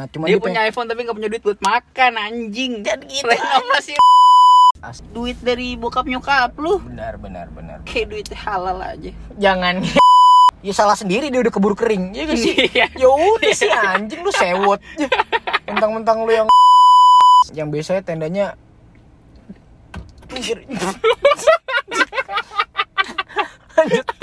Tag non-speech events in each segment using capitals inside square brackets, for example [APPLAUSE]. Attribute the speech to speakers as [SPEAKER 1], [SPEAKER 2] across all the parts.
[SPEAKER 1] Nah, cuma dia
[SPEAKER 2] dia punya iPhone tapi nggak punya duit ya? buat makan anjing.
[SPEAKER 1] Dan gitu,
[SPEAKER 2] Renovasi
[SPEAKER 1] As-
[SPEAKER 2] duit dari bokap nyokap lu.
[SPEAKER 1] benar benar benar.
[SPEAKER 2] Kayak duit halal aja.
[SPEAKER 1] Jangan. [LAUGHS] ya salah sendiri dia udah keburu kering. Ya gak sih?
[SPEAKER 2] [LAUGHS] Iya.
[SPEAKER 1] [LAUGHS] ya udah sih anjing lu [LAUGHS] sewot. Mentang-mentang lu yang [LAUGHS] yang biasanya tendanya pinggir. Lanjut. [LAUGHS]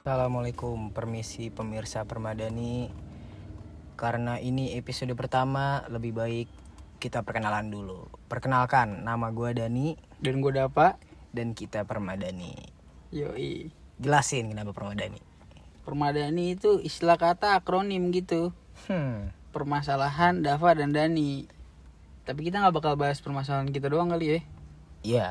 [SPEAKER 1] Assalamualaikum, permisi pemirsa Permadani. Karena ini episode pertama, lebih baik kita perkenalan dulu. Perkenalkan, nama gue Dani
[SPEAKER 2] Dan gue dapat
[SPEAKER 1] dan kita Permadani.
[SPEAKER 2] yoi.
[SPEAKER 1] Jelasin kenapa Permadani.
[SPEAKER 2] Permadani itu istilah kata akronim gitu.
[SPEAKER 1] Hmm,
[SPEAKER 2] Permasalahan Dava dan Dani. Tapi kita nggak bakal bahas permasalahan kita doang kali ya.
[SPEAKER 1] ya.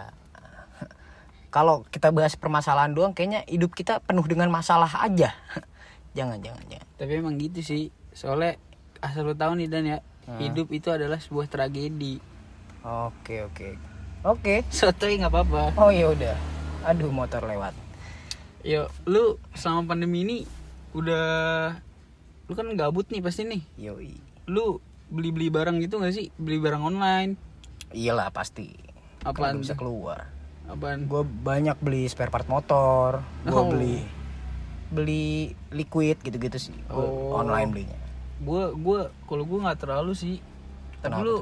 [SPEAKER 1] Kalau kita bahas permasalahan doang, kayaknya hidup kita penuh dengan masalah aja. [LAUGHS] jangan, jangan, jangan.
[SPEAKER 2] Tapi emang gitu sih. Soalnya asal lu tahu nih Dan ya, hidup itu adalah sebuah tragedi. [LAUGHS]
[SPEAKER 1] Oke, oke, oke.
[SPEAKER 2] Sotoy nggak apa-apa.
[SPEAKER 1] Oh ya udah. Aduh, motor lewat.
[SPEAKER 2] Yo, Ya, lu selama pandemi ini udah lu kan gabut nih pasti nih.
[SPEAKER 1] Yoi.
[SPEAKER 2] Lu beli-beli barang gitu gak sih? Beli barang online.
[SPEAKER 1] Iyalah pasti. Kan
[SPEAKER 2] Apaan?
[SPEAKER 1] nggak bisa
[SPEAKER 2] tuh?
[SPEAKER 1] keluar.
[SPEAKER 2] Apaan?
[SPEAKER 1] gue banyak beli spare part motor gue
[SPEAKER 2] Oh.
[SPEAKER 1] beli beli liquid gitu-gitu sih Gua
[SPEAKER 2] Oh.
[SPEAKER 1] online belinya
[SPEAKER 2] Gua gua kalau gua nggak terlalu sih. Tapi
[SPEAKER 1] Kenapa
[SPEAKER 2] lu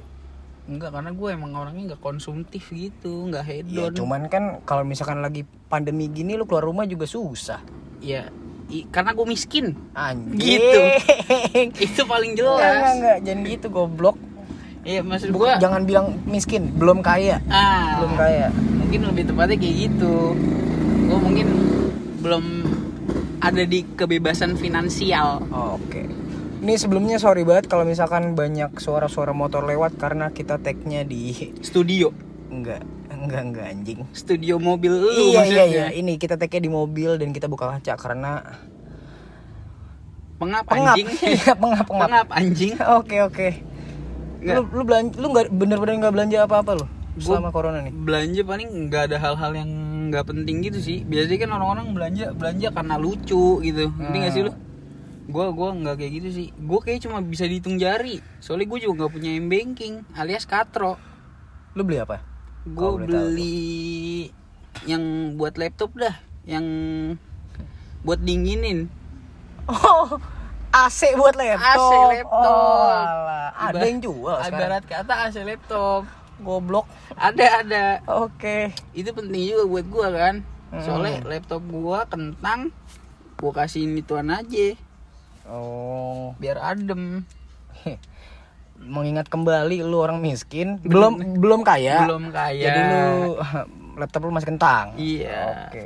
[SPEAKER 2] enggak karena gue emang orangnya nggak konsumtif gitu, nggak
[SPEAKER 1] ya
[SPEAKER 2] hedon.
[SPEAKER 1] cuman kan kalau misalkan lagi pandemi gini lu keluar rumah juga susah
[SPEAKER 2] Ya, i- karena gue miskin. [LAUGHS]
[SPEAKER 1] anjing
[SPEAKER 2] Gitu.
[SPEAKER 1] [LAUGHS]
[SPEAKER 2] Itu paling
[SPEAKER 1] enggak enggak
[SPEAKER 2] jelas.
[SPEAKER 1] enggak. jangan gitu goblok
[SPEAKER 2] Iya, maksud
[SPEAKER 1] Bukan,
[SPEAKER 2] gua
[SPEAKER 1] jangan bilang miskin belum kaya
[SPEAKER 2] ah,
[SPEAKER 1] belum kaya
[SPEAKER 2] mungkin lebih tepatnya kayak gitu gue mungkin belum ada di kebebasan finansial
[SPEAKER 1] Oke. Ini sebelumnya sorry banget kalau misalkan banyak suara-suara motor lewat karena kita tag-nya di [LAUGHS]
[SPEAKER 2] studio
[SPEAKER 1] enggak enggak enggak anjing.
[SPEAKER 2] studio mobil lu
[SPEAKER 1] iya iya
[SPEAKER 2] maksudnya
[SPEAKER 1] iya ini kita tag di mobil dan kita buka kaca karena
[SPEAKER 2] pengap,
[SPEAKER 1] pengap [LAUGHS]
[SPEAKER 2] anjing
[SPEAKER 1] Iya, pengap pengap
[SPEAKER 2] pengap anjing
[SPEAKER 1] oke oke
[SPEAKER 2] Nggak.
[SPEAKER 1] lu lu belanja lu nggak bener-bener nggak belanja apa-apa lu
[SPEAKER 2] Gua-
[SPEAKER 1] selama corona nih
[SPEAKER 2] belanja paling nggak ada hal-hal yang nggak penting gitu sih biasanya kan orang-orang belanja belanja karena lucu gitu ngerti nggak sih
[SPEAKER 1] Hmm.
[SPEAKER 2] lu gue gua nggak kayak gitu sih gue kayak cuma bisa dihitung jari soalnya gue juga nggak punya m banking alias katro
[SPEAKER 1] lu beli apa
[SPEAKER 2] gue
[SPEAKER 1] boleh tahu
[SPEAKER 2] beli yang buat laptop dah yang buat dinginin
[SPEAKER 1] oh AC buat laptop
[SPEAKER 2] AC laptop.
[SPEAKER 1] Oh, alah. ada
[SPEAKER 2] Ibarat-
[SPEAKER 1] yang jual Oh, sekarang
[SPEAKER 2] ibarat kata AC ya, laptop
[SPEAKER 1] goblok
[SPEAKER 2] ada ada
[SPEAKER 1] oke
[SPEAKER 2] itu penting juga buat gua kan
[SPEAKER 1] Hmm.
[SPEAKER 2] soalnya laptop gua kentang gua kasihin ituan aja
[SPEAKER 1] oh [LAUGHS]
[SPEAKER 2] biar adem
[SPEAKER 1] Heh. mengingat kembali lu orang miskin belum belum kaya
[SPEAKER 2] belum kaya
[SPEAKER 1] Ya, jadi lu [LAUGHS] laptop lu masih kentang
[SPEAKER 2] iya
[SPEAKER 1] oke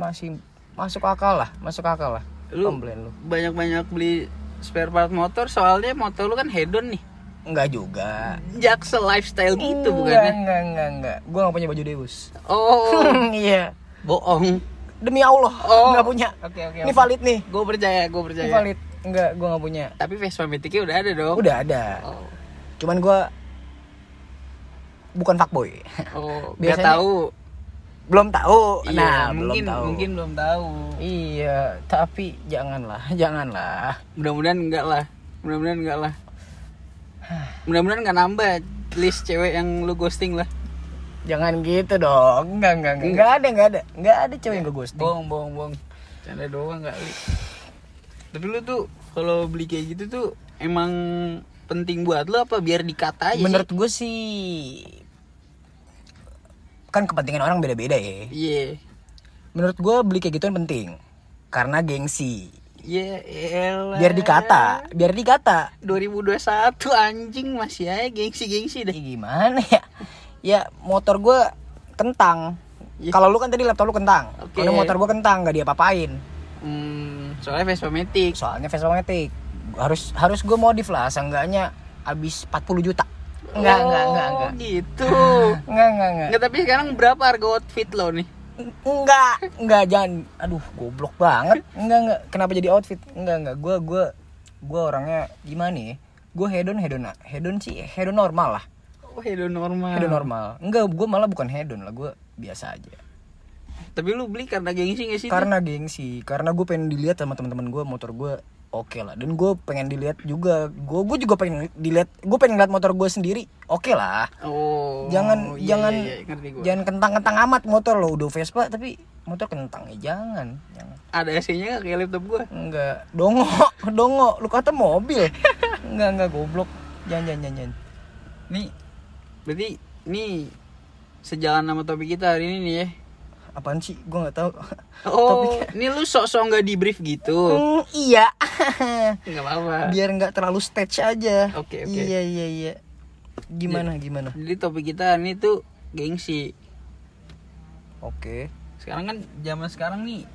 [SPEAKER 1] masih masuk akal lah masuk akal lah
[SPEAKER 2] Lu-
[SPEAKER 1] komplain lu
[SPEAKER 2] banyak banyak beli spare part motor soalnya motor lu kan hedon nih
[SPEAKER 1] enggak juga
[SPEAKER 2] jaksel lifestyle gitu
[SPEAKER 1] enggak,
[SPEAKER 2] bukannya
[SPEAKER 1] enggak enggak enggak gue nggak punya baju Deus
[SPEAKER 2] oh
[SPEAKER 1] [LAUGHS] iya
[SPEAKER 2] bohong
[SPEAKER 1] demi Allah
[SPEAKER 2] Oh.
[SPEAKER 1] nggak punya
[SPEAKER 2] oke oke Iya,
[SPEAKER 1] ini valid nih
[SPEAKER 2] Gue percaya, gue
[SPEAKER 1] ini
[SPEAKER 2] percaya.
[SPEAKER 1] valid enggak gue nggak punya
[SPEAKER 2] Tapi Vespa Mythicnya udah ada dong.
[SPEAKER 1] udah ada
[SPEAKER 2] Oh,
[SPEAKER 1] cuman gue bukan fuckboy [LAUGHS]
[SPEAKER 2] oh nggak
[SPEAKER 1] Biasanya-
[SPEAKER 2] tahu.
[SPEAKER 1] belum tahu nah
[SPEAKER 2] Iya, mungkin
[SPEAKER 1] belum tahu
[SPEAKER 2] mungkin belum tahu.
[SPEAKER 1] iya tapi janganlah janganlah
[SPEAKER 2] Mudah-mudahan enggak lah. Mudah-mudahan enggak [SIGHS] lah. Mudah-mudahan enggak nambah list cewek yang lu ghosting lah.
[SPEAKER 1] jangan gitu dong enggak enggak enggak enggak ada enggak ada enggak ada cewek yang gue ghosting
[SPEAKER 2] Bohong, bohong, bohong. Canda doang enggak li. Tapi lu tuh kalau beli kayak gitu tuh emang penting buat lu apa biar dikata aja
[SPEAKER 1] menurut
[SPEAKER 2] sih?
[SPEAKER 1] gue sih kan kepentingan orang beda-beda ya
[SPEAKER 2] Iya.
[SPEAKER 1] Menurut gue beli kayak gituan penting karena gengsi.
[SPEAKER 2] Iya, elah.
[SPEAKER 1] Biar dikata, biar dikata.
[SPEAKER 2] 2021 anjing masih aja gengsi-gengsi deh.
[SPEAKER 1] Ih, gimana ya? Ya motor gue kentang.
[SPEAKER 2] Iya.
[SPEAKER 1] Kalau lu kan tadi laptop lu kentang.
[SPEAKER 2] Oke.
[SPEAKER 1] Kalau motor gue kentang nggak diapa-apain.
[SPEAKER 2] Hmm, soalnya Vespa Matic.
[SPEAKER 1] Soalnya Vespa Matic harus harus gue modif lah seenggaknya habis 40 juta. Enggak, enggak, enggak,
[SPEAKER 2] Oh,
[SPEAKER 1] enggak. [LAUGHS]
[SPEAKER 2] gitu.
[SPEAKER 1] Enggak, enggak, enggak.
[SPEAKER 2] Nggak, tapi sekarang berapa harga outfit lo nih?
[SPEAKER 1] Enggak, enggak jangan. Aduh, goblok banget. Enggak, enggak. Kenapa jadi outfit? Enggak, enggak. Gua gua gua orangnya gimana ya? gue hedon hedon hedon sih hedon normal lah
[SPEAKER 2] Oh, hello normal.
[SPEAKER 1] hedon normal enggak gue malah bukan hedon lah gue biasa aja
[SPEAKER 2] Tapi lu beli karena gengsi gak sih?
[SPEAKER 1] karena gengsi karena gue pengen dilihat sama teman-teman gue motor gue oke lah dan gue pengen dilihat juga gue gue juga pengen dilihat gue pengen lihat motor gue sendiri oke lah
[SPEAKER 2] Oh.
[SPEAKER 1] jangan
[SPEAKER 2] iya,
[SPEAKER 1] jangan
[SPEAKER 2] iya, iya, ngerti gua.
[SPEAKER 1] jangan kentang-kentang amat motor lo udah Vespa tapi motor kentang ya jangan jangan
[SPEAKER 2] Ada AC-nya gak kayak laptop gua?
[SPEAKER 1] enggak dongo [LAUGHS] dongo lu kata
[SPEAKER 2] [LAUGHS]
[SPEAKER 1] mobil enggak enggak goblok jangan jangan jangan, jangan.
[SPEAKER 2] Nih. Berarti nih sejalan sama topik kita hari ini nih ya.
[SPEAKER 1] apaan sih gue nggak tahu
[SPEAKER 2] Oh,
[SPEAKER 1] ya.
[SPEAKER 2] ini lu sok-sok gak di brief gitu.
[SPEAKER 1] Hmm, iya [LAUGHS]
[SPEAKER 2] Enggak apa-apa.
[SPEAKER 1] biar nggak terlalu stage aja
[SPEAKER 2] Oke, Iya. oke.
[SPEAKER 1] iya iya iya gimana gimana
[SPEAKER 2] Jadi topik kita ini tuh gengsi.
[SPEAKER 1] oke
[SPEAKER 2] Sekarang kan zaman sekarang nih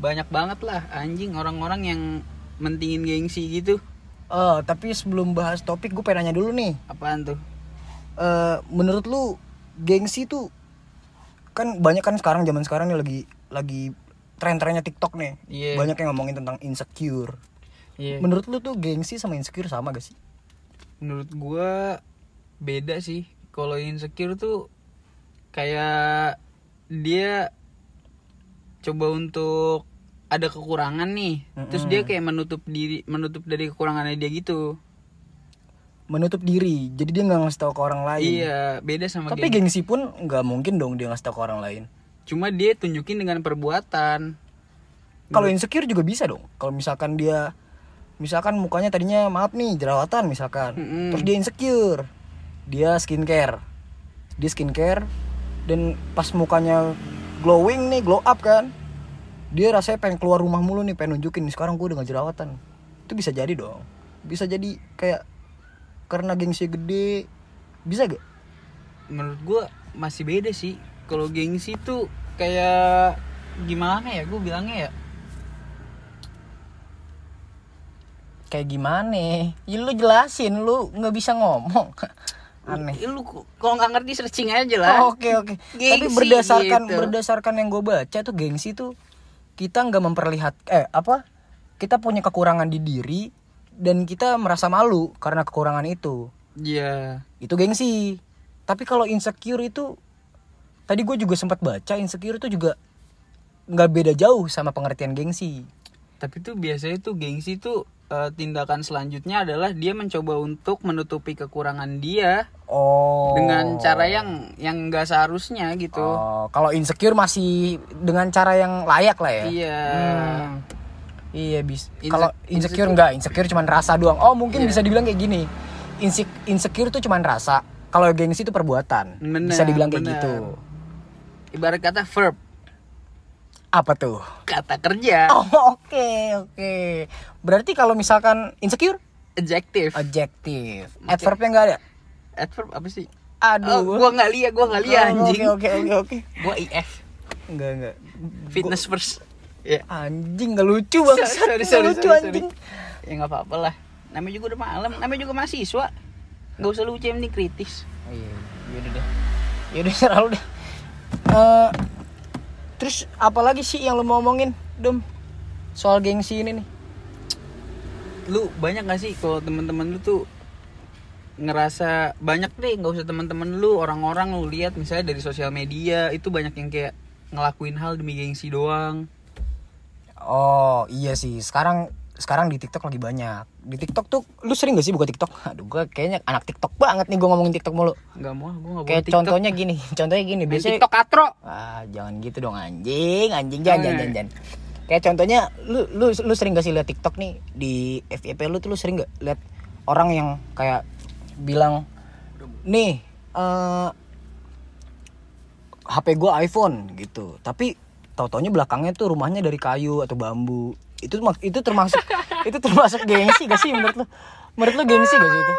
[SPEAKER 2] banyak banget lah anjing orang-orang yang mentingin gengsi gitu.
[SPEAKER 1] Eh, tapi sebelum bahas topik gue pengen nanya dulu nih
[SPEAKER 2] Apaan tuh?
[SPEAKER 1] Eh, menurut lu gengsi tuh kan banyak kan sekarang zaman sekarang nih lagi lagi tren-trennya TikTok nih.
[SPEAKER 2] Iya.
[SPEAKER 1] Banyak yang ngomongin tentang insecure.
[SPEAKER 2] Iya.
[SPEAKER 1] Menurut lu tuh gengsi sama insecure sama gak sih?
[SPEAKER 2] menurut gua beda sih kalau insecure tuh kayak dia coba untuk ada kekurangan nih terus dia kayak menutup diri menutup dari kekurangannya dia gitu
[SPEAKER 1] Menutup diri. Jadi dia nggak ngasih tahu ke orang lain.
[SPEAKER 2] iya beda sama
[SPEAKER 1] Tapi
[SPEAKER 2] geng-
[SPEAKER 1] gengsi pun nggak mungkin dong dia ngasih tahu ke orang lain.
[SPEAKER 2] cuma dia tunjukin dengan perbuatan
[SPEAKER 1] Kalau insecure juga bisa dong. Kalau misalkan dia misalkan mukanya tadinya maaf nih jerawatan misalkan.
[SPEAKER 2] Mm-mm.
[SPEAKER 1] Terus dia insecure. Dia skincare. Dia skincare dan pas mukanya glowing nih, glow up kan. Dia rasanya pengen keluar rumah mulu nih, pengen nunjukin sekarang gue udah gak jerawatan. Itu bisa jadi dong. Bisa jadi kayak karena gengsi gede bisa gak?
[SPEAKER 2] menurut gua masih beda sih kalau gengsi tuh kayak gimana ya gua bilangnya ya
[SPEAKER 1] Kayak gimana? Ya lu jelasin, lu nggak bisa ngomong. Aneh.
[SPEAKER 2] Ih, "Eh, lu kalau nggak ngerti searching aja lah
[SPEAKER 1] Oh, Oke oke. Tapi
[SPEAKER 2] Gengsi
[SPEAKER 1] berdasarkan
[SPEAKER 2] gitu.
[SPEAKER 1] berdasarkan yang gue baca tuh gengsi tuh kita nggak memperlihat eh apa kita punya kekurangan di diri dan kita merasa malu karena kekurangan itu
[SPEAKER 2] Iya.
[SPEAKER 1] itu gengsi. Tapi kalau insecure itu tadi gue juga sempat baca insecure itu juga nggak beda jauh sama pengertian gengsi.
[SPEAKER 2] Tapi tuh biasanya tuh gengsi tuh eh, tindakan selanjutnya adalah dia mencoba untuk menutupi kekurangan dia
[SPEAKER 1] Oh.
[SPEAKER 2] dengan cara yang yang enggak seharusnya gitu.
[SPEAKER 1] Oh, kalau insecure masih dengan cara yang layak lah ya.
[SPEAKER 2] Iya.
[SPEAKER 1] Hmm. Iya bis.
[SPEAKER 2] Inse-
[SPEAKER 1] Kalau insecure enggak, insecure cuman rasa doang. Oh,
[SPEAKER 2] Iya.
[SPEAKER 1] mungkin bisa dibilang kayak gini. Inse- insecure tuh cuman rasa. Kalau gengsi itu perbuatan.
[SPEAKER 2] Bener,
[SPEAKER 1] bisa dibilang kayak
[SPEAKER 2] bener.
[SPEAKER 1] gitu.
[SPEAKER 2] Ibarat kata verb,
[SPEAKER 1] Apa tuh?
[SPEAKER 2] kata kerja,
[SPEAKER 1] Oh, [LAUGHS] oke, oke. Berarti kalau misalkan insecure
[SPEAKER 2] adjective.
[SPEAKER 1] adjektif. Adverbnya enggak ada.
[SPEAKER 2] Adverb apa sih? Oh,
[SPEAKER 1] Aduh.
[SPEAKER 2] gua nggak lihat, gua nggak lihat
[SPEAKER 1] Oh,
[SPEAKER 2] anjing.
[SPEAKER 1] Oke, oke, oke, oke.
[SPEAKER 2] Gua IF,
[SPEAKER 1] Enggak, enggak.
[SPEAKER 2] fitness first. Ya.
[SPEAKER 1] Anjing enggak lucu banget.
[SPEAKER 2] Sorry, sorry,
[SPEAKER 1] Nggak
[SPEAKER 2] sorry,
[SPEAKER 1] lucu
[SPEAKER 2] sorry,
[SPEAKER 1] anjing.
[SPEAKER 2] sorry. Ya nggak apa-apa lah. Namanya juga udah malam, namanya juga mahasiswa. Gak usah lucu yang ini kritis.
[SPEAKER 1] Oh, iya, yaudah deh. Yaudah [LAUGHS] serah lu deh. Eh, terus apalagi sih yang lu mau omongin, Dom? Soal gengsi ini nih.
[SPEAKER 2] lu banyak gak sih kalau teman-teman lu tuh ngerasa banyak deh nggak usah teman-teman lu orang-orang lu lihat misalnya dari sosial media itu banyak yang kayak ngelakuin hal demi gengsi doang
[SPEAKER 1] Oh, iya sih. Sekarang sekarang di TikTok lagi banyak. Di TikTok tuh lu sering gak sih buka TikTok? Aduh, gua kayaknya anak TikTok banget nih gua ngomongin TikTok mulu.
[SPEAKER 2] nggak mau gue nggak boleh
[SPEAKER 1] Kayak contohnya gini, [LAUGHS] contohnya gini.
[SPEAKER 2] Main
[SPEAKER 1] Biasanya
[SPEAKER 2] TikTok katro
[SPEAKER 1] Ah, jangan gitu dong anjing, anjing jangan jangan
[SPEAKER 2] Eh.
[SPEAKER 1] jangan. jangan. Kayak contohnya lu lu lu sering gak sih lihat TikTok nih di FYP lu tuh lu sering gak lihat orang yang kayak bilang nih eh HP gua iPhone gitu. Tapi tau-taunya belakangnya tuh rumahnya dari kayu atau bambu. Itu mak- itu
[SPEAKER 2] [LAUGHS]
[SPEAKER 1] termasuk itu termasuk gengsi gak sih menurut lu? Menurut lu gengsi gak sih itu?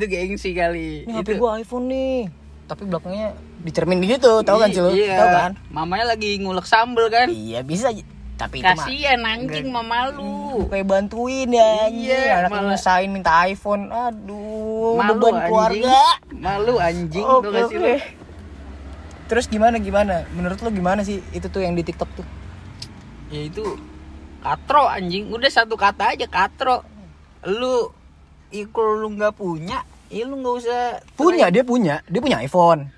[SPEAKER 2] itu gengsi kali
[SPEAKER 1] Ini HP
[SPEAKER 2] itu
[SPEAKER 1] gua iPhone nih. Tapi belakangnya dicermin gitu, tau kan sih lu?
[SPEAKER 2] Iya.
[SPEAKER 1] Tau kan?
[SPEAKER 2] mamanya lagi ngulek sambel kan
[SPEAKER 1] Iya bisa aja. tapi itu mah
[SPEAKER 2] kasian anjing mama lu
[SPEAKER 1] kayak bantuin ya
[SPEAKER 2] Iya,
[SPEAKER 1] iya, anak
[SPEAKER 2] malah-
[SPEAKER 1] nyusahin minta iPhone aduh
[SPEAKER 2] malu
[SPEAKER 1] beban
[SPEAKER 2] anjing
[SPEAKER 1] keluarga
[SPEAKER 2] malu anjing
[SPEAKER 1] Oke,
[SPEAKER 2] tuh gak sih lu
[SPEAKER 1] oke. terus gimana gimana menurut lo gimana sih itu tuh yang di TikTok tuh
[SPEAKER 2] ya itu katro anjing udah satu kata aja katro lu ya kalau lu nggak punya ya lu nggak usah
[SPEAKER 1] punya dia punya dia punya iPhone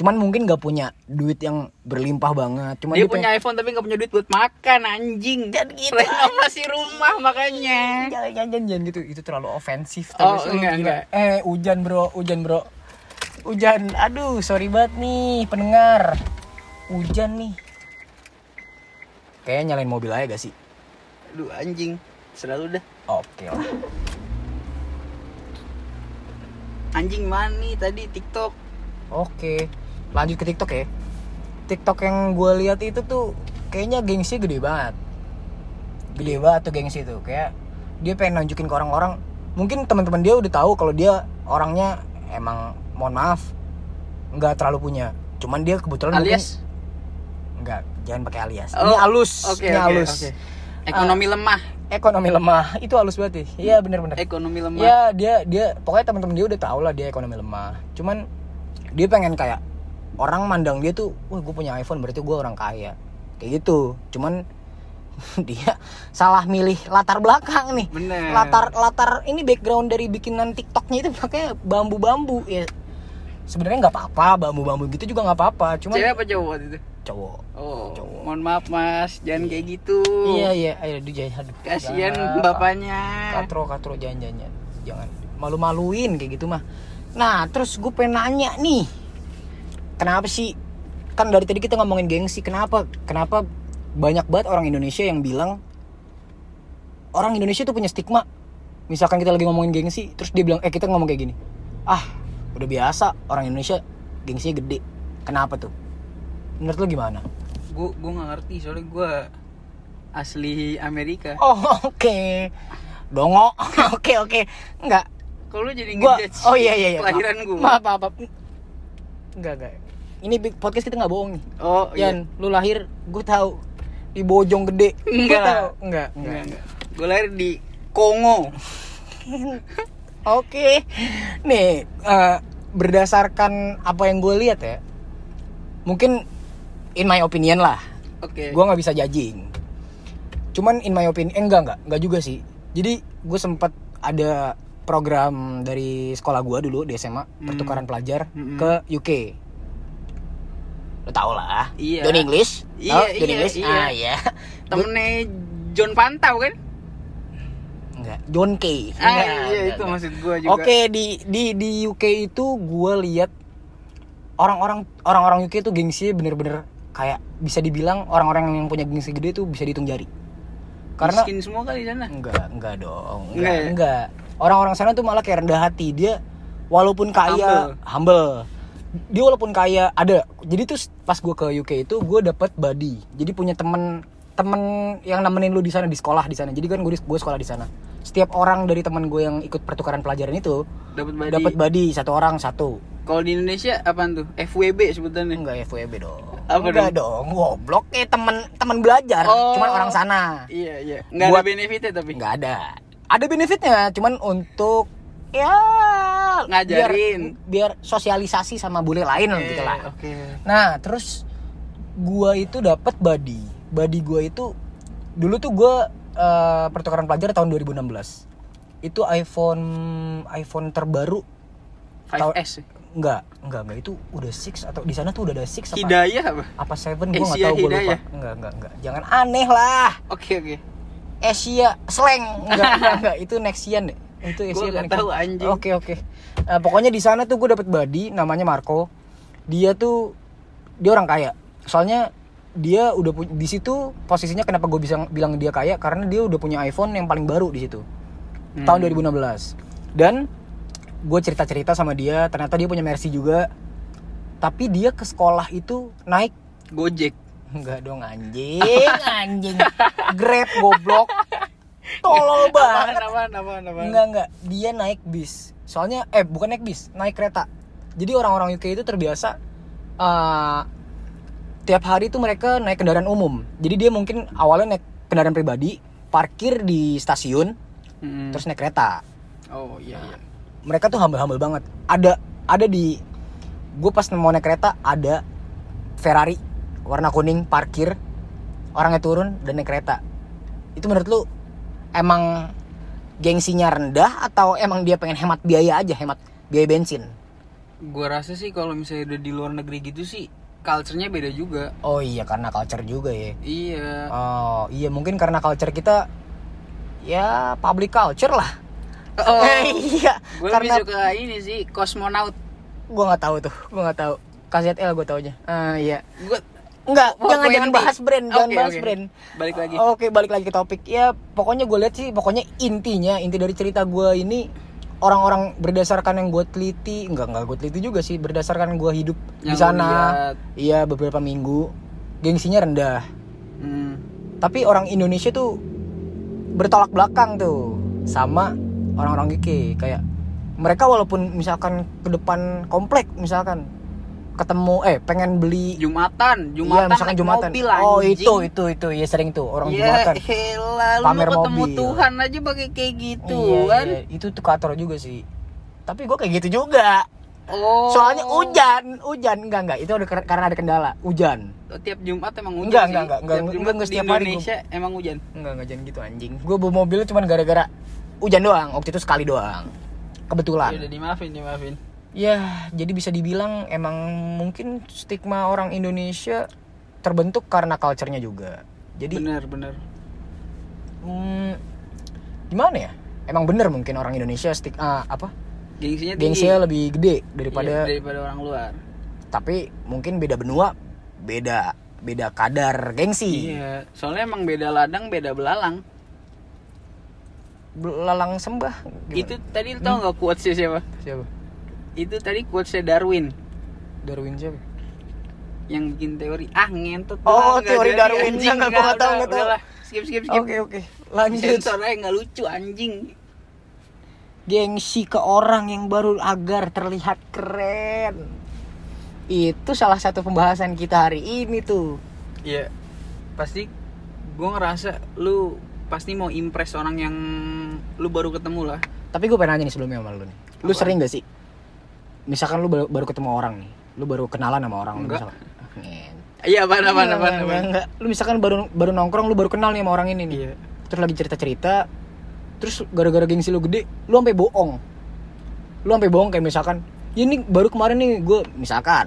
[SPEAKER 1] cuman mungkin nggak punya duit yang berlimpah banget cuman
[SPEAKER 2] dia, punya iPhone tapi nggak punya duit buat makan anjing dan gitu renovasi
[SPEAKER 1] Iya.
[SPEAKER 2] rumah makanya
[SPEAKER 1] jangan, jangan, jangan, jangan gitu itu terlalu ofensif
[SPEAKER 2] Oh,
[SPEAKER 1] sih lu
[SPEAKER 2] enggak,
[SPEAKER 1] gila.
[SPEAKER 2] enggak.
[SPEAKER 1] eh hujan bro hujan bro hujan aduh sorry banget nih pendengar hujan nih kayaknya nyalain mobil aja gak sih
[SPEAKER 2] lu anjing selalu dah
[SPEAKER 1] oke lah
[SPEAKER 2] anjing mani tadi TikTok
[SPEAKER 1] Oke, lanjut ke TikTok ya. TikTok yang gue lihat itu tuh kayaknya gengsi gede banget. Gede
[SPEAKER 2] Iya.
[SPEAKER 1] banget tuh gengsi tuh. Kayak dia pengen nunjukin ke orang-orang. Mungkin teman-teman dia udah tahu kalau dia orangnya emang mohon maaf nggak terlalu punya. Cuman dia kebetulan mungkin-
[SPEAKER 2] alias
[SPEAKER 1] nggak jangan pakai alias.
[SPEAKER 2] Oh,
[SPEAKER 1] ini halus,
[SPEAKER 2] oke
[SPEAKER 1] ini
[SPEAKER 2] oke,
[SPEAKER 1] halus.
[SPEAKER 2] oke. ekonomi lemah
[SPEAKER 1] Ekonomi lemah itu halus banget sih. Iya bener-bener.
[SPEAKER 2] ekonomi lemah
[SPEAKER 1] Ya dia dia pokoknya teman-teman dia udah tau lah dia ekonomi lemah. Cuman dia pengen kayak orang mandang dia tuh, wah gue punya iPhone berarti gue orang kaya. Kayak gitu. Cuman [LAUGHS] dia salah milih latar belakang nih.
[SPEAKER 2] bener
[SPEAKER 1] Latar latar ini background dari bikinan TikToknya itu pakai bambu-bambu ya. Sebenarnya nggak apa-apa bambu-bambu gitu juga nggak apa-apa. Cuman
[SPEAKER 2] cewek apa cowok waktu itu
[SPEAKER 1] cowok.
[SPEAKER 2] oh
[SPEAKER 1] Cowok.
[SPEAKER 2] mohon maaf mas jangan kayak gitu
[SPEAKER 1] Iya iya, ayo aduh, jangan- aduh.
[SPEAKER 2] kasihan
[SPEAKER 1] Jangan.
[SPEAKER 2] bapaknya
[SPEAKER 1] katro katro jangan jangan jangan. jangan malu-maluin kayak gitu mah nah terus gue pengen nanya nih kenapa sih kan dari tadi kita ngomongin gengsi kenapa kenapa banyak banget orang Indonesia yang bilang orang Indonesia tuh punya stigma misalkan kita lagi ngomongin gengsi terus dia bilang eh kita ngomong kayak gini ah udah biasa orang Indonesia gengsinya gede kenapa tuh menurut lo gimana
[SPEAKER 2] gue gue nggak ngerti soalnya gue asli Amerika
[SPEAKER 1] oh [LAUGHS] oke dongo [LAUGHS] oke oke enggak
[SPEAKER 2] kalau lu jadi
[SPEAKER 1] gua
[SPEAKER 2] ngejudge
[SPEAKER 1] oh iya iya iya
[SPEAKER 2] kelahiran gue
[SPEAKER 1] maaf maaf maaf. enggak enggak ini big podcast kita nggak bohong nih
[SPEAKER 2] oh iya
[SPEAKER 1] Yan lu lahir gue tahu di Bojong gede Gua
[SPEAKER 2] Enggak.
[SPEAKER 1] tahu. enggak enggak
[SPEAKER 2] enggak enggak gue lahir di Kongo
[SPEAKER 1] oke nih eh, berdasarkan apa yang gue lihat ya mungkin in my opinion lah
[SPEAKER 2] oke
[SPEAKER 1] gue nggak bisa judging cuman in my opinion eh, enggak enggak enggak juga sih jadi gue sempat ada program dari sekolah gue dulu di SMA
[SPEAKER 2] Hmm.
[SPEAKER 1] pertukaran pelajar
[SPEAKER 2] Mm-mm.
[SPEAKER 1] ke UK lo tau lah
[SPEAKER 2] Iya.
[SPEAKER 1] Johnny English
[SPEAKER 2] Iya,
[SPEAKER 1] Tau? Johnny
[SPEAKER 2] iya,
[SPEAKER 1] English
[SPEAKER 2] iya.
[SPEAKER 1] ah iya
[SPEAKER 2] temennya John Pantau kan
[SPEAKER 1] enggak John K Enggak,
[SPEAKER 2] ah iya
[SPEAKER 1] enggak,
[SPEAKER 2] itu
[SPEAKER 1] enggak.
[SPEAKER 2] maksud gue juga
[SPEAKER 1] oke di di di UK itu gue lihat orang-orang orang-orang UK itu gengsi bener-bener kayak bisa dibilang orang-orang yang punya gengsi gede itu bisa dihitung jari karena
[SPEAKER 2] miskin semua kali di sana
[SPEAKER 1] Enggak, enggak dong. Enggak,
[SPEAKER 2] Enggak ya?
[SPEAKER 1] enggak. Orang-orang sana tuh malah kayak rendah hati. Dia walaupun kaya, humble. Dia walaupun kaya ada. Jadi tuh pas gua ke UK itu gua dapet buddy. Jadi punya temen temen yang nemenin lu di sana di sekolah di sana. Jadi kan gue gue sekolah di sana. Setiap orang dari teman gue yang ikut pertukaran pelajaran itu
[SPEAKER 2] dapat badi
[SPEAKER 1] dapat buddy satu orang satu.
[SPEAKER 2] kalau di Indonesia apaan tuh FWB sebutannya
[SPEAKER 1] Enggak FWB dong.
[SPEAKER 2] Apa
[SPEAKER 1] enggak dong? Goblok eh temen temen belajar,
[SPEAKER 2] Oh.
[SPEAKER 1] cuman orang sana.
[SPEAKER 2] iya iya nggak ada
[SPEAKER 1] Buat-
[SPEAKER 2] benefitnya tapi
[SPEAKER 1] nggak ada ada benefitnya cuman untuk ya
[SPEAKER 2] Ngajarin.
[SPEAKER 1] biar, biar sosialisasi sama bule lain
[SPEAKER 2] Oke,
[SPEAKER 1] gitu lah
[SPEAKER 2] Eh, oke
[SPEAKER 1] nah terus gua itu dapat body body gua itu dulu tuh gua eh, pertukaran pelajar tahun 2016 itu iPhone iPhone terbaru
[SPEAKER 2] 5S
[SPEAKER 1] nggak nggak nggak itu udah 6 atau di sana tuh udah ada 6 apa
[SPEAKER 2] Hidayah apa
[SPEAKER 1] apa 7 gua nggak
[SPEAKER 2] Asia
[SPEAKER 1] tahu gua lupa
[SPEAKER 2] Hidayah.
[SPEAKER 1] nggak nggak nggak jangan aneh lah
[SPEAKER 2] oke oke
[SPEAKER 1] Asia slang enggak
[SPEAKER 2] [LAUGHS]
[SPEAKER 1] enggak, enggak. itu Nexian deh itu Asia
[SPEAKER 2] Gua nggak
[SPEAKER 1] Nexian.
[SPEAKER 2] tahu, anjing.
[SPEAKER 1] oke oke Eh, pokoknya di sana tuh gue dapet buddy namanya Marco dia tuh dia orang kaya soalnya dia udah pu- di situ posisinya kenapa gue bisa bilang dia kaya karena dia udah punya iPhone yang paling baru di situ
[SPEAKER 2] Hmm.
[SPEAKER 1] tahun 2016 dan gue cerita cerita sama dia ternyata dia punya Mercy juga tapi dia ke sekolah itu naik
[SPEAKER 2] Gojek
[SPEAKER 1] Enggak dong anjing, anjing. Grab goblok. Tolol
[SPEAKER 2] apaan
[SPEAKER 1] banget.
[SPEAKER 2] apaan apaan apaan
[SPEAKER 1] Enggak enggak, dia naik bis. Soalnya eh bukan naik bis, naik kereta. Jadi orang-orang UK itu terbiasa eh tiap hari itu mereka naik kendaraan umum. Jadi dia mungkin awalnya naik kendaraan pribadi, parkir di stasiun,
[SPEAKER 2] Mm.
[SPEAKER 1] terus naik kereta.
[SPEAKER 2] oh iya iya
[SPEAKER 1] Mereka tuh humble-humble banget. Ada ada di gue pas mau naik kereta ada Ferrari warna kuning parkir orangnya turun dan naik kereta itu menurut lu emang gengsinya rendah atau emang dia pengen hemat biaya aja hemat biaya bensin
[SPEAKER 2] Gua rasa sih kalau misalnya udah di luar negeri gitu sih, culture-nya beda juga.
[SPEAKER 1] oh iya karena culture juga ya
[SPEAKER 2] Iya.
[SPEAKER 1] oh iya mungkin karena culture kita ya public culture lah
[SPEAKER 2] Oh.
[SPEAKER 1] [LAUGHS] iya
[SPEAKER 2] Gue
[SPEAKER 1] karena
[SPEAKER 2] lebih suka ini sih, kosmonaut.
[SPEAKER 1] gue nggak tahu tuh gue nggak tahu KZL gue taunya ah iya
[SPEAKER 2] Gua
[SPEAKER 1] Enggak,
[SPEAKER 2] Oh,
[SPEAKER 1] jangan
[SPEAKER 2] gua
[SPEAKER 1] jangan
[SPEAKER 2] ganti.
[SPEAKER 1] bahas brand, jangan
[SPEAKER 2] Oke,
[SPEAKER 1] bahas
[SPEAKER 2] oke.
[SPEAKER 1] brand.
[SPEAKER 2] Balik lagi.
[SPEAKER 1] Oke, balik lagi ke topik. Ya, pokoknya gue lihat sih, pokoknya intinya, inti dari cerita gue ini orang-orang berdasarkan yang gue teliti, enggak enggak gue teliti juga sih, berdasarkan gue hidup di
[SPEAKER 2] Yang lu
[SPEAKER 1] sana.
[SPEAKER 2] lihat.
[SPEAKER 1] Iya, beberapa minggu. Gengsinya rendah.
[SPEAKER 2] Hmm.
[SPEAKER 1] Tapi orang Indonesia tuh bertolak belakang tuh sama orang-orang GK kayak mereka walaupun misalkan ke depan komplek misalkan ketemu eh pengen beli
[SPEAKER 2] Jumatan,
[SPEAKER 1] Iya,
[SPEAKER 2] Jumatan
[SPEAKER 1] misalkan
[SPEAKER 2] naik
[SPEAKER 1] Jumatan.
[SPEAKER 2] mobil
[SPEAKER 1] oh,
[SPEAKER 2] anjing.
[SPEAKER 1] itu itu itu. Iya sering tuh orang
[SPEAKER 2] Ya
[SPEAKER 1] Jumatan.
[SPEAKER 2] elah, lu
[SPEAKER 1] Pamer
[SPEAKER 2] mau ketemu
[SPEAKER 1] mobil.
[SPEAKER 2] Tuhan aja pakai kayak gitu
[SPEAKER 1] Iya,
[SPEAKER 2] kan.
[SPEAKER 1] iya. Itu tuh kotor juga sih. Tapi gue kayak gitu juga.
[SPEAKER 2] Oh.
[SPEAKER 1] Soalnya hujan, hujan enggak enggak. Itu ada ker- karena ada kendala, hujan.
[SPEAKER 2] Oh, Tiap Jumat emang hujan
[SPEAKER 1] Enggak,
[SPEAKER 2] sih.
[SPEAKER 1] enggak, enggak, enggak,
[SPEAKER 2] Tiap
[SPEAKER 1] enggak,
[SPEAKER 2] Jumat
[SPEAKER 1] enggak,
[SPEAKER 2] di
[SPEAKER 1] setiap hari gua-
[SPEAKER 2] Indonesia emang hujan.
[SPEAKER 1] Enggak enggak jangan gitu anjing. Gue bawa mobil cuman gara-gara hujan doang. Waktu itu sekali doang.
[SPEAKER 2] Ya
[SPEAKER 1] Kebetulan.
[SPEAKER 2] udah dimaafin, dimaafin.
[SPEAKER 1] Ya, jadi bisa dibilang emang mungkin stigma orang Indonesia terbentuk karena culture-nya juga. Jadi
[SPEAKER 2] Bener, bener.
[SPEAKER 1] hmm, gimana ya? Emang bener mungkin orang Indonesia stik ah, apa?
[SPEAKER 2] Gengsinya tinggi.
[SPEAKER 1] Gengsinya lebih gede
[SPEAKER 2] Iya,
[SPEAKER 1] daripada
[SPEAKER 2] daripada orang luar.
[SPEAKER 1] tapi mungkin beda benua, beda beda kadar gengsi.
[SPEAKER 2] Iya, soalnya emang beda ladang, beda belalang.
[SPEAKER 1] Belalang sembah. gimana?
[SPEAKER 2] Itu tadi lu tau nggak quotesnya siapa?
[SPEAKER 1] siapa?
[SPEAKER 2] Itu tadi quotesnya Darwin
[SPEAKER 1] Darwin siapa?
[SPEAKER 2] yang bikin teori. Ah, ngentot.
[SPEAKER 1] Oh,
[SPEAKER 2] lah, nggak
[SPEAKER 1] teori
[SPEAKER 2] jadi,
[SPEAKER 1] Darwin.
[SPEAKER 2] anjing.
[SPEAKER 1] Nggak,
[SPEAKER 2] Nggak,
[SPEAKER 1] gua nggak tahu,
[SPEAKER 2] udah,
[SPEAKER 1] nggak tahu.
[SPEAKER 2] udahlah. Skip, skip, skip.
[SPEAKER 1] Oke, oke. Lanjut.
[SPEAKER 2] Sensor aja nggak lucu anjing.
[SPEAKER 1] Gengsi ke orang yang baru agar terlihat keren. Itu salah satu pembahasan kita hari ini tuh.
[SPEAKER 2] Iya. Pasti gue ngerasa lu pasti mau impress orang yang lu baru ketemu lah.
[SPEAKER 1] Tapi gue pengen nanya nih sebelumnya sama lu nih. Lu
[SPEAKER 2] Apaan?
[SPEAKER 1] sering gak sih? Misalkan lu baru, baru ketemu orang nih. Lu baru kenalan sama orang.
[SPEAKER 2] Enggak.
[SPEAKER 1] Lu misalkan. Ah, ngentot.
[SPEAKER 2] Iya, apa apa apa
[SPEAKER 1] Enggak, enggak, enggak. Lu misalkan baru baru nongkrong, lu baru kenal nih sama orang ini nih.
[SPEAKER 2] Iya.
[SPEAKER 1] Terus lagi cerita-cerita, terus gara-gara gengsi lu gede, lu sampai bohong. Lu sampai bohong kayak misalkan, "Ya ini baru kemarin nih gue misalkan.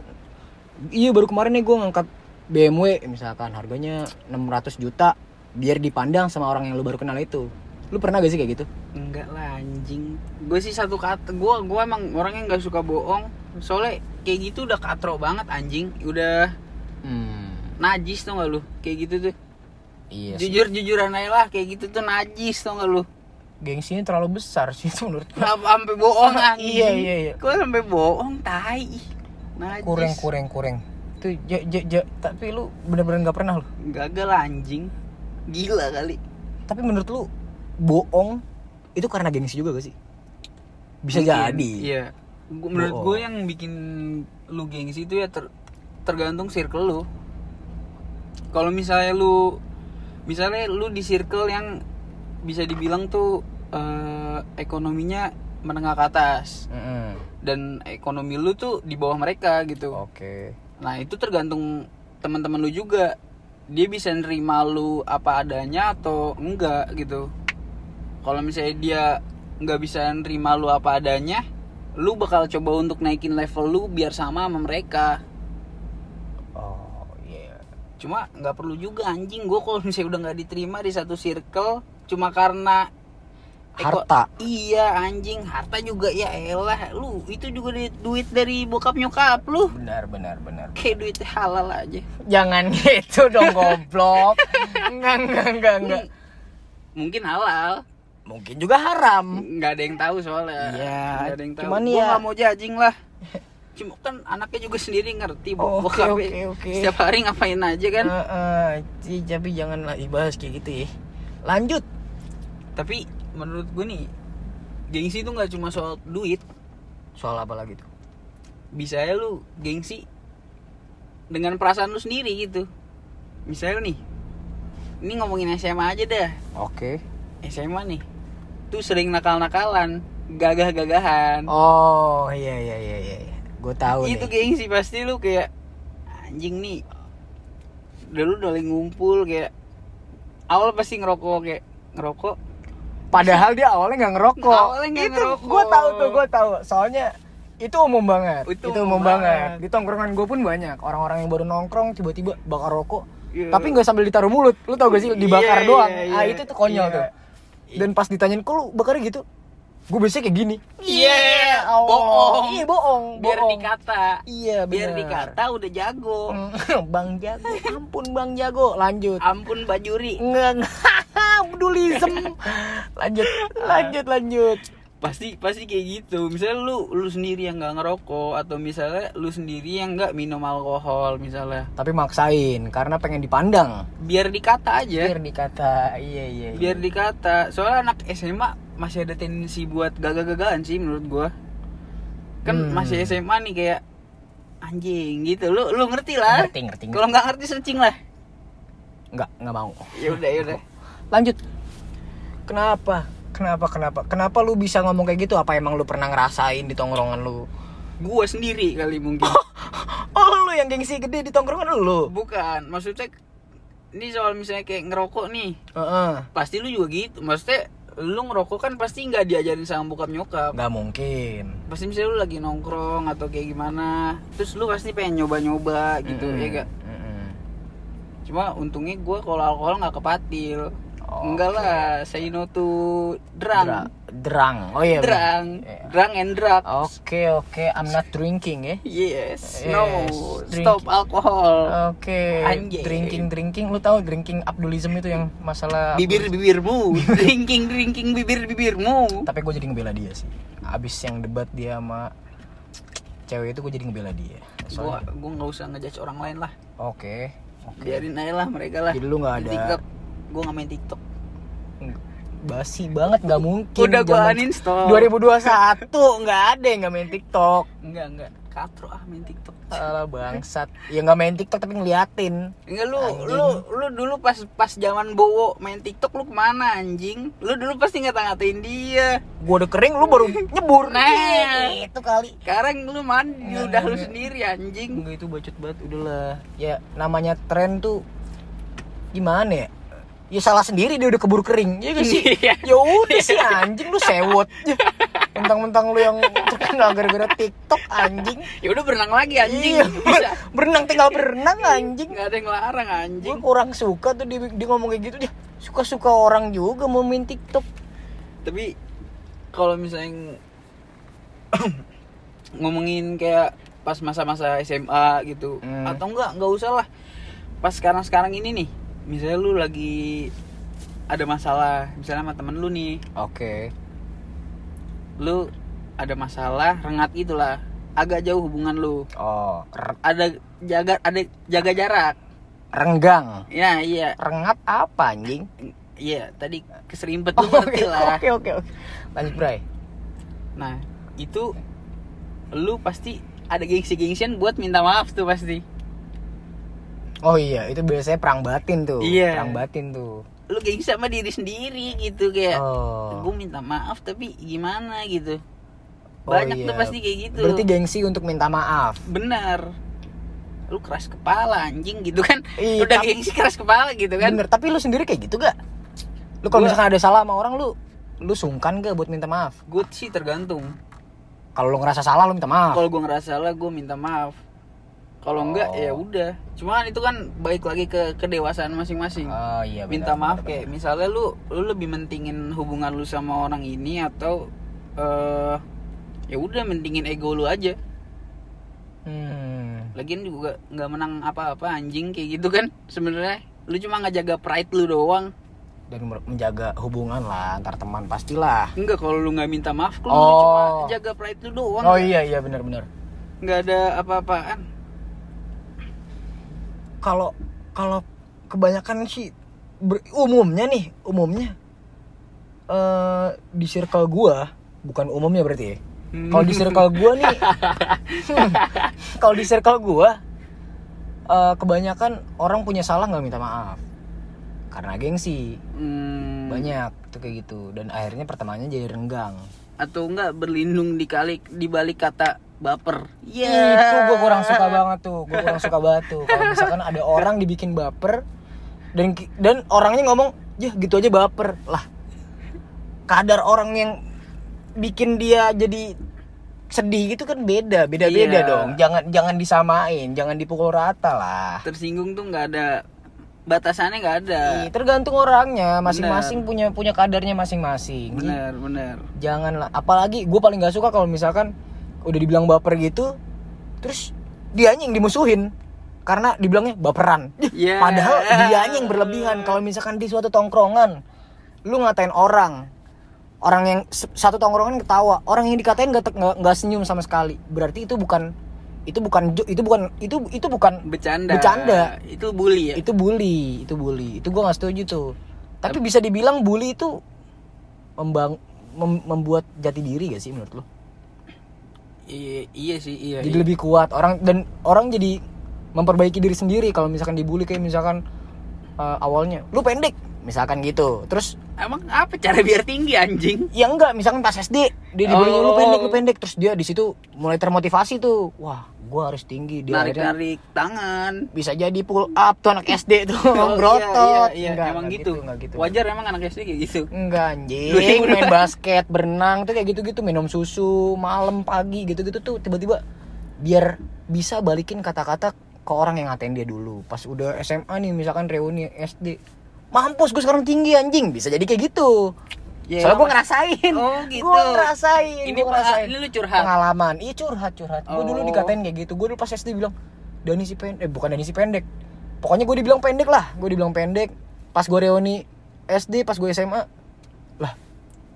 [SPEAKER 1] Iya baru kemarin nih gue ngangkat BMW misalkan harganya 600 juta biar dipandang sama orang yang lu baru kenal itu. Lu pernah gak sih kayak gitu?
[SPEAKER 2] Enggak lah anjing. Gue sih satu kata, gue gua emang orangnya nggak suka bohong. Soalnya kayak gitu udah katro banget anjing. Udah
[SPEAKER 1] Hmm.
[SPEAKER 2] najis tau gak lu? Kayak gitu tuh.
[SPEAKER 1] Iya. sih.
[SPEAKER 2] Jujur jujuran aja lah kayak gitu tuh najis tau gak lu?
[SPEAKER 1] Gengsinya terlalu besar sih itu menurut gue.
[SPEAKER 2] Kenapa sampai bohong anjing?
[SPEAKER 1] [LAUGHS] Iya, iya, iya.
[SPEAKER 2] Gue sampai bohong tai. Najis.
[SPEAKER 1] Kurang kurang kurang. Tuh ja- ja- ja- tapi lu bener-bener nggak pernah lu.
[SPEAKER 2] Gagal lah, anjing. Gila kali.
[SPEAKER 1] Tapi menurut lu bohong itu karena gengsi juga gak sih? Bisa
[SPEAKER 2] Mungkin,
[SPEAKER 1] jadi. Oh.
[SPEAKER 2] Iya. Gu- Menurut
[SPEAKER 1] Bohong.
[SPEAKER 2] gue yang bikin lu gengsi itu ya ter- tergantung circle lu. Kalau misalnya lu misalnya lu di circle yang bisa dibilang tuh eh, ekonominya menengah ke atas
[SPEAKER 1] Mm-mm.
[SPEAKER 2] dan ekonomi lu tuh di bawah mereka gitu.
[SPEAKER 1] Oke.
[SPEAKER 2] Nah, itu tergantung teman-teman lu juga. Dia bisa nerima lu apa adanya atau enggak gitu. Kalau misalnya dia nggak bisa nerima lu apa adanya, lu bakal coba untuk naikin level lu biar sama sama mereka.
[SPEAKER 1] Oh iya.
[SPEAKER 2] Cuma nggak perlu juga anjing gue kalau [LAUGHS] misalnya udah nggak diterima di satu circle cuma karena eko-
[SPEAKER 1] Harta.
[SPEAKER 2] Iya anjing harta juga ya elah lu itu juga duit, duit dari bokap nyokap lu
[SPEAKER 1] Benar benar benar.
[SPEAKER 2] kayak duit halal aja
[SPEAKER 1] Jangan [LAUGHS] gitu dong goblok. enggak enggak enggak enggak.
[SPEAKER 2] mungkin halal
[SPEAKER 1] Mungkin juga haram.
[SPEAKER 2] nggak ada yang tahu soalnya
[SPEAKER 1] Iya,
[SPEAKER 2] nggak ada yang tahu
[SPEAKER 1] cuman
[SPEAKER 2] Gua
[SPEAKER 1] ya-
[SPEAKER 2] nggak mau jajing lah cuma kan anaknya juga sendiri ngerti
[SPEAKER 1] Oh,
[SPEAKER 2] bahwa
[SPEAKER 1] oke, oke, oke. Hmm.
[SPEAKER 2] setiap hari ngapain aja kan
[SPEAKER 1] Heeh, sih, tapi jangan lagi bahas kayak gitu ya. Lanjut.
[SPEAKER 2] tapi menurut gue nih gengsi itu nggak cuma soal duit
[SPEAKER 1] Soal apa lagi tuh?
[SPEAKER 2] bisa ya lu gengsi dengan perasaan lu sendiri gitu misalnya nih ini ngomongin SMA aja dah
[SPEAKER 1] Oke.
[SPEAKER 2] SMA nih tuh sering nakal-nakalan gagah-gagahan
[SPEAKER 1] Oh iya iya iya iya. Gue tahu
[SPEAKER 2] itu
[SPEAKER 1] nih.
[SPEAKER 2] gengsi Gitu, pasti lu kayak anjing nih dulu udah lagi ngumpul kayak awal pasti ngerokok kayak ngerokok
[SPEAKER 1] Padahal dia awalnya nggak ngerokok.
[SPEAKER 2] Awalnya nggak
[SPEAKER 1] itu
[SPEAKER 2] ngerokok.
[SPEAKER 1] gue tahu tuh, gue tahu. Soalnya itu umum banget.
[SPEAKER 2] Itu
[SPEAKER 1] Itu,
[SPEAKER 2] umum
[SPEAKER 1] umum banget.
[SPEAKER 2] banget.
[SPEAKER 1] Di tongkrongan gue pun banyak orang-orang yang baru nongkrong tiba-tiba bakar rokok.
[SPEAKER 2] Iya.
[SPEAKER 1] Tapi nggak sambil ditaruh mulut. Lu tau gak sih
[SPEAKER 2] Iya,
[SPEAKER 1] dibakar
[SPEAKER 2] iya,
[SPEAKER 1] doang.
[SPEAKER 2] iya.
[SPEAKER 1] Ah itu tuh konyol
[SPEAKER 2] Iya.
[SPEAKER 1] tuh. Dan pas ditanyain kok lu bakarnya gitu? Gue biasanya kayak gini.
[SPEAKER 2] Iya,
[SPEAKER 1] Allah.
[SPEAKER 2] bohong.
[SPEAKER 1] Iya, bohong.
[SPEAKER 2] biar
[SPEAKER 1] bohong.
[SPEAKER 2] dikata
[SPEAKER 1] Iya,
[SPEAKER 2] biar
[SPEAKER 1] bener.
[SPEAKER 2] dikata udah jago
[SPEAKER 1] Mm, [LAUGHS] Bang Jago, ampun Bang Jago, lanjut.
[SPEAKER 2] ampun bajuri
[SPEAKER 1] Nggak, [LAUGHS] pedulisem.
[SPEAKER 2] [LAUGHS]
[SPEAKER 1] lanjut, lanjut, lanjut.
[SPEAKER 2] pasti pasti kayak gitu misalnya lu lu sendiri yang nggak ngerokok atau misalnya lu sendiri yang nggak minum alkohol misalnya
[SPEAKER 1] Tapi maksain karena pengen dipandang.
[SPEAKER 2] biar dikata aja biar,
[SPEAKER 1] Biar dikata, iya iya. iya.
[SPEAKER 2] dikata soalnya anak SMA masih ada tendensi buat gagal-gagalan sih menurut gua kan
[SPEAKER 1] Hmm.
[SPEAKER 2] masih SMA nih kayak anjing gitu lu lu ngerti lah
[SPEAKER 1] Ngerti, ngerti.
[SPEAKER 2] kalau nggak ngerti searching lah
[SPEAKER 1] Nggak, nggak mau.
[SPEAKER 2] ya udah ya udah
[SPEAKER 1] Lanjut. Kenapa? Kenapa, kenapa? Kenapa lu bisa ngomong kayak gitu? Apa emang lu pernah ngerasain di tongkrongan lu? [LAUGHS]
[SPEAKER 2] gua sendiri kali mungkin
[SPEAKER 1] Oh, lu yang gengsi gede di tongkrongan lu.
[SPEAKER 2] bukan maksudnya ini soal misalnya kayak ngerokok nih
[SPEAKER 1] Heeh.
[SPEAKER 2] pasti lu juga gitu maksudnya lu ngerokok kan pasti nggak diajarin sama bokap nyokap
[SPEAKER 1] Nggak mungkin.
[SPEAKER 2] pasti misalnya lu lagi nongkrong atau kayak gimana terus lu pasti pengen nyoba-nyoba gitu
[SPEAKER 1] Mm-mm.
[SPEAKER 2] ya gak
[SPEAKER 1] Mm-mm.
[SPEAKER 2] cuma untungnya gue kalau alkohol nggak kepatil
[SPEAKER 1] Oh,
[SPEAKER 2] enggak lah saya no to drang
[SPEAKER 1] Dra- Drang. Oh iya. bener.
[SPEAKER 2] drang
[SPEAKER 1] Iya.
[SPEAKER 2] drang and drug
[SPEAKER 1] Oke oke, I'm not drinking ya.
[SPEAKER 2] yes
[SPEAKER 1] Yes,
[SPEAKER 2] no
[SPEAKER 1] drink. Oh.
[SPEAKER 2] stop alkohol
[SPEAKER 1] Oke.
[SPEAKER 2] Anjay.
[SPEAKER 1] Drinking drinking, lu tahu drinking abdulism itu yang masalah.
[SPEAKER 2] bibir
[SPEAKER 1] [LAUGHS]
[SPEAKER 2] bibirmu drinking drinking bibir bibirmu
[SPEAKER 1] Tapi gue jadi ngebela dia sih. Abis yang debat dia sama cewek itu gue jadi ngebela dia.
[SPEAKER 2] gue
[SPEAKER 1] Soalnya,
[SPEAKER 2] gue nggak usah ngejudge orang lain lah
[SPEAKER 1] oke.
[SPEAKER 2] biarin aja lah mereka lah
[SPEAKER 1] Jadi lu nggak
[SPEAKER 2] Di
[SPEAKER 1] ada-
[SPEAKER 2] TikTok gue nggak main TikTok
[SPEAKER 1] Basi banget nggak mungkin.
[SPEAKER 2] udah gue
[SPEAKER 1] zaman- [LAUGHS]
[SPEAKER 2] uninstall
[SPEAKER 1] 2021 nggak ada yang nggak main TikTok.
[SPEAKER 2] enggak enggak katro ah main TikTok
[SPEAKER 1] Alah bangsat. Ya nggak main TikTok tapi ngeliatin.
[SPEAKER 2] Enggak lu lu lu dulu pas pas zaman Bowo main TikTok lu kemana anjing lu dulu pasti ngata-ngatain dia
[SPEAKER 1] Gue udah kering, lu baru nyebur.
[SPEAKER 2] Nah.
[SPEAKER 1] itu kali.
[SPEAKER 2] sekarang lu mandi udah lu sendiri anjing
[SPEAKER 1] Enggak itu bacot banget udahlah. Ya namanya tren tuh gimana ya? Ya salah sendiri dia udah keburu kering. Ya gak sih?
[SPEAKER 2] Iya.
[SPEAKER 1] ya udah sih anjing lu sewot. Mentang-mentang lu yang terkenal gara-gara TikTok anjing.
[SPEAKER 2] ya udah berenang lagi [LAUGHS] anjing
[SPEAKER 1] Iya.
[SPEAKER 2] bisa
[SPEAKER 1] Berenang tinggal berenang anjing.
[SPEAKER 2] nggak ada yang larang
[SPEAKER 1] Gue
[SPEAKER 2] anjing
[SPEAKER 1] kurang suka tuh dia, dia ngomong kayak gitu dia. Suka-suka orang juga mau main TikTok.
[SPEAKER 2] tapi kalau misalnya [COUGHS] ng- ngomongin kayak pas masa-masa SMA gitu
[SPEAKER 1] Hmm.
[SPEAKER 2] atau enggak enggak usah lah pas sekarang sekarang ini nih misalnya lu lagi ada masalah misalnya sama temen lu nih
[SPEAKER 1] Oke.
[SPEAKER 2] lu ada masalah rengat itulah agak jauh hubungan lu
[SPEAKER 1] Oh, r-
[SPEAKER 2] ada jaga ada jaga jarak
[SPEAKER 1] renggang.
[SPEAKER 2] ya iya
[SPEAKER 1] Rengat apa
[SPEAKER 2] [LAUGHS]
[SPEAKER 1] anjing?
[SPEAKER 2] iya tadi keserimpet
[SPEAKER 1] [LAUGHS]
[SPEAKER 2] lu
[SPEAKER 1] Oke,
[SPEAKER 2] ngerti lah
[SPEAKER 1] oke, oke, oke. Lanjut, Bray.
[SPEAKER 2] nah itu lu pasti ada gengsi gengsian buat minta maaf tuh pasti
[SPEAKER 1] Oh iya, itu biasanya perang batin tuh.
[SPEAKER 2] Iya.
[SPEAKER 1] Perang batin tuh.
[SPEAKER 2] lu gengsi sama diri sendiri gitu kayak
[SPEAKER 1] Oh.
[SPEAKER 2] gue minta maaf tapi gimana gitu
[SPEAKER 1] Oh,
[SPEAKER 2] banyak
[SPEAKER 1] iya.
[SPEAKER 2] tuh pasti kayak gitu
[SPEAKER 1] Berarti gengsi untuk minta maaf.
[SPEAKER 2] benar lu keras kepala anjing gitu kan
[SPEAKER 1] Iya,
[SPEAKER 2] udah
[SPEAKER 1] tapi-
[SPEAKER 2] gengsi keras kepala gitu kan
[SPEAKER 1] Bener, tapi lu sendiri kayak gitu gak? Lu kalau
[SPEAKER 2] Gua-
[SPEAKER 1] misalkan ada salah sama orang lu lu sungkan gak buat minta maaf?
[SPEAKER 2] gue sih tergantung
[SPEAKER 1] Kalau lu ngerasa salah lu minta maaf.
[SPEAKER 2] kalau gue ngerasa salah gue minta maaf kalau enggak
[SPEAKER 1] Oh.
[SPEAKER 2] ya udah cuman itu kan baik lagi ke kedewasaan masing-masing
[SPEAKER 1] Oh iya bener,
[SPEAKER 2] minta maaf
[SPEAKER 1] bener,
[SPEAKER 2] kayak misalnya lu lu lebih mentingin hubungan lu sama orang ini atau eh ya udah mentingin ego lu aja
[SPEAKER 1] bener. Hmm.
[SPEAKER 2] lagian juga nggak menang apa-apa anjing kayak gitu kan sebenarnya lu cuma ngejaga pride lu doang
[SPEAKER 1] Dan mer- menjaga hubungan lah antar teman pastilah.
[SPEAKER 2] enggak kalau lu nggak minta maaf lu,
[SPEAKER 1] Oh.
[SPEAKER 2] cuma jaga pride lu doang
[SPEAKER 1] Oh iya iya benar benar.
[SPEAKER 2] nggak ada apa-apaan
[SPEAKER 1] Kalau kalau kebanyakan sih ber- umumnya nih, umumnya eh di circle gua bukan umumnya berarti ya.
[SPEAKER 2] Hmm.
[SPEAKER 1] Kalau di circle gua nih, kalau di circle gua eh, kebanyakan orang punya salah nggak minta maaf karena gengsi
[SPEAKER 2] Hmm.
[SPEAKER 1] banyak tuh kayak gitu dan akhirnya pertamanya jadi renggang.
[SPEAKER 2] atau enggak berlindung di kali di balik kata baper.
[SPEAKER 1] Itu gua kurang suka banget tuh, gua kurang suka banget tuh. Kalau misalkan ada orang dibikin baper dan ki- dan orangnya ngomong, ya gitu aja baper lah. kadar orang yang bikin dia jadi sedih gitu kan beda beda beda
[SPEAKER 2] Iya.
[SPEAKER 1] dong jangan jangan disamain jangan dipukul rata lah
[SPEAKER 2] tersinggung tuh nggak ada batasannya nggak ada
[SPEAKER 1] Ih, tergantung orangnya masing-masing punya punya kadarnya masing-masing
[SPEAKER 2] bener bener
[SPEAKER 1] janganlah apalagi gue paling gak suka kalau misalkan udah dibilang baper gitu terus dianya yang dimusuhin karena dibilangnya baperan Ih,
[SPEAKER 2] Ya.
[SPEAKER 1] padahal dianya yang berlebihan kalau misalkan di suatu tongkrongan lu ngatain orang orang yang s- satu tongkrongan kan ketawa orang yang dikatain gak, te- gak, gak senyum sama sekali berarti itu bukan itu bukan jo- itu bukan itu itu bukan
[SPEAKER 2] bercanda
[SPEAKER 1] Bercanda.
[SPEAKER 2] itu bully ya
[SPEAKER 1] itu bully itu bully itu gua nggak setuju tuh tapi bisa dibilang bully itu membang mem- membuat jati diri gak sih menurut lo
[SPEAKER 2] I- iya sih iya
[SPEAKER 1] jadi
[SPEAKER 2] iya.
[SPEAKER 1] lebih kuat orang dan orang jadi memperbaiki diri sendiri kalau misalkan dibully kayak misalkan eh, awalnya lu pendek misalkan gitu terus
[SPEAKER 2] emang apa cara biar tinggi anjing
[SPEAKER 1] ya enggak misalkan pas SD dia dibully lu
[SPEAKER 2] Oh.
[SPEAKER 1] pendek lu pendek terus dia di situ mulai termotivasi tuh wah gua harus tinggi dia
[SPEAKER 2] narik kan?
[SPEAKER 1] akhirnya
[SPEAKER 2] narik tangan
[SPEAKER 1] bisa jadi pull up tuh anak SD tuh
[SPEAKER 2] [LAUGHS] Oh,
[SPEAKER 1] orang [LAUGHS]
[SPEAKER 2] iya,
[SPEAKER 1] berotot
[SPEAKER 2] iya, iya.
[SPEAKER 1] Enggak,
[SPEAKER 2] emang
[SPEAKER 1] enggak
[SPEAKER 2] gitu,
[SPEAKER 1] enggak gitu.
[SPEAKER 2] wajar emang anak SD kayak gitu
[SPEAKER 1] Enggak anjing, main basket, berenang tuh kayak gitu-gitu, minum susu, malam, pagi gitu-gitu tuh tiba-tiba biar bisa balikin kata-kata ke orang yang ngatain dia dulu. Pas udah SMA nih misalkan reuni SD. Mampus gue sekarang tinggi anjing, bisa jadi kayak gitu.
[SPEAKER 2] Ya,
[SPEAKER 1] Soalnya gue
[SPEAKER 2] mas-
[SPEAKER 1] ngerasain.
[SPEAKER 2] Oh, gitu.
[SPEAKER 1] Gue ngerasain.
[SPEAKER 2] Ini
[SPEAKER 1] gua
[SPEAKER 2] pa-
[SPEAKER 1] ngerasain.
[SPEAKER 2] ini lu curhat?
[SPEAKER 1] Pengalaman. Iya curhat curhat. Gue dulu
[SPEAKER 2] Oh.
[SPEAKER 1] dikatain kayak gitu. Gue dulu pas SD bilang Dani si pendek. Eh bukan Dani si pendek. Pokoknya gue dibilang pendek lah. Gue dibilang pendek. Pas gue reuni SD, pas gue SMA, lah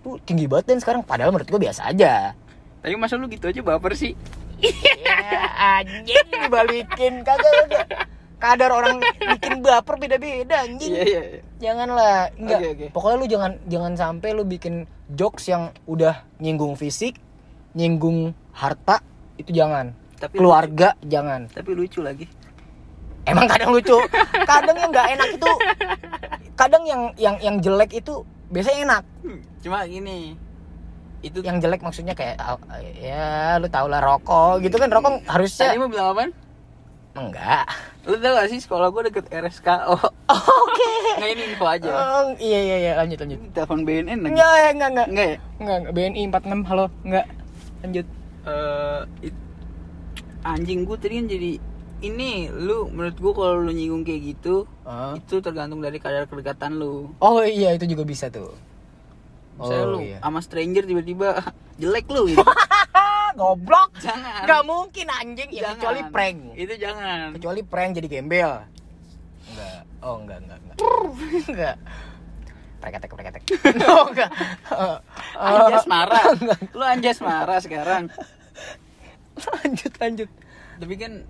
[SPEAKER 1] lu tinggi banget dan sekarang padahal menurut gue biasa
[SPEAKER 2] [LAUGHS]
[SPEAKER 1] aja.
[SPEAKER 2] tapi masa lu gitu aja baper sih Iya,
[SPEAKER 1] ya, anjing [LAUGHS] dibalikin kagak kagak. Kadar orang bikin baper beda-beda anjing
[SPEAKER 2] iya iya iya.
[SPEAKER 1] janganlah enggak
[SPEAKER 2] Oke, oke.
[SPEAKER 1] pokoknya lu jangan jangan sampai lu bikin jokes yang udah nyinggung fisik nyinggung harta itu jangan
[SPEAKER 2] Tapi
[SPEAKER 1] keluarga jangan
[SPEAKER 2] tapi lucu lagi
[SPEAKER 1] emang kadang lucu kadang yang nggak enak itu kadang yang yang yang jelek itu biasanya enak
[SPEAKER 2] Hmm, cuma gini itu
[SPEAKER 1] yang jelek maksudnya kayak ah, ya lu tau lah rokok gitu kan rokok
[SPEAKER 2] tadi
[SPEAKER 1] harusnya
[SPEAKER 2] mau bilang apaan?
[SPEAKER 1] enggak
[SPEAKER 2] Lu tau gak sih sekolah gue deket RSKO [LAUGHS]
[SPEAKER 1] oke
[SPEAKER 2] Nah ini info aja
[SPEAKER 1] Oh, iya iya iya lanjut lanjut
[SPEAKER 2] Ini telepon BNN lagi
[SPEAKER 1] enggak eh, enggak enggak
[SPEAKER 2] Enggak ya?
[SPEAKER 1] enggak, enggak. BNI 46 halo enggak lanjut
[SPEAKER 2] Eh, it- Anjing gue tadi kan jadi Ini lu menurut gue kalau lu nyinggung kayak gitu
[SPEAKER 1] Ah.
[SPEAKER 2] Itu tergantung dari kadar kedekatan lu
[SPEAKER 1] Oh iya itu juga bisa tuh.
[SPEAKER 2] Misalnya
[SPEAKER 1] Oh,
[SPEAKER 2] lu
[SPEAKER 1] iya.
[SPEAKER 2] sama stranger tiba-tiba [LAUGHS] jelek lu gitu
[SPEAKER 1] Ah, goblok.
[SPEAKER 2] Jangan
[SPEAKER 1] Gak mungkin anjing ya
[SPEAKER 2] Jangan.
[SPEAKER 1] kecuali prank.
[SPEAKER 2] Itu jangan
[SPEAKER 1] Kecuali prank jadi gembel. Enggak. Oh enggak enggak enggak. enggak. Preketek [LAUGHS] preketek. Oh enggak. Eh, eh,
[SPEAKER 2] Anjas marah [LAUGHS] Lu anjas marah sekarang
[SPEAKER 1] lanjut lanjut.
[SPEAKER 2] tapi kan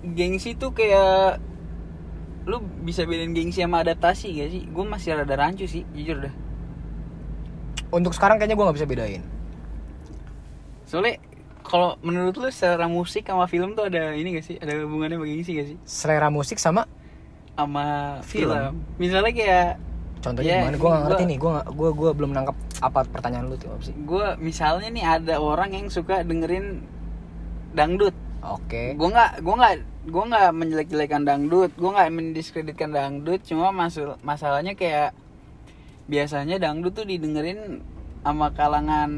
[SPEAKER 2] gengsi tuh kayak lu bisa bedain gengsi sama adaptasi gak sih gue masih rada rancu sih jujur dah
[SPEAKER 1] Untuk sekarang kayaknya gue nggak bisa bedain.
[SPEAKER 2] soalnya kalau menurut lu secara musik sama film tuh ada ini gak sih ada hubungannya sama gengsi gak sih
[SPEAKER 1] Selera musik sama
[SPEAKER 2] sama
[SPEAKER 1] Film.
[SPEAKER 2] film, misalnya kayak
[SPEAKER 1] contohnya
[SPEAKER 2] Ya,
[SPEAKER 1] gimana? Gue nggak
[SPEAKER 2] ini
[SPEAKER 1] ngerti
[SPEAKER 2] gua-
[SPEAKER 1] nih. Gue gue gue belum nangkap apa pertanyaan lu tuh apa sih.
[SPEAKER 2] gue misalnya nih ada orang yang suka dengerin dangdut
[SPEAKER 1] Oke.
[SPEAKER 2] gue nggak gue nggak gue nggak menjelek-jelekan dangdut gue nggak mendiskreditkan dangdut cuma masal masalahnya kayak biasanya dangdut tuh didengerin sama kalangan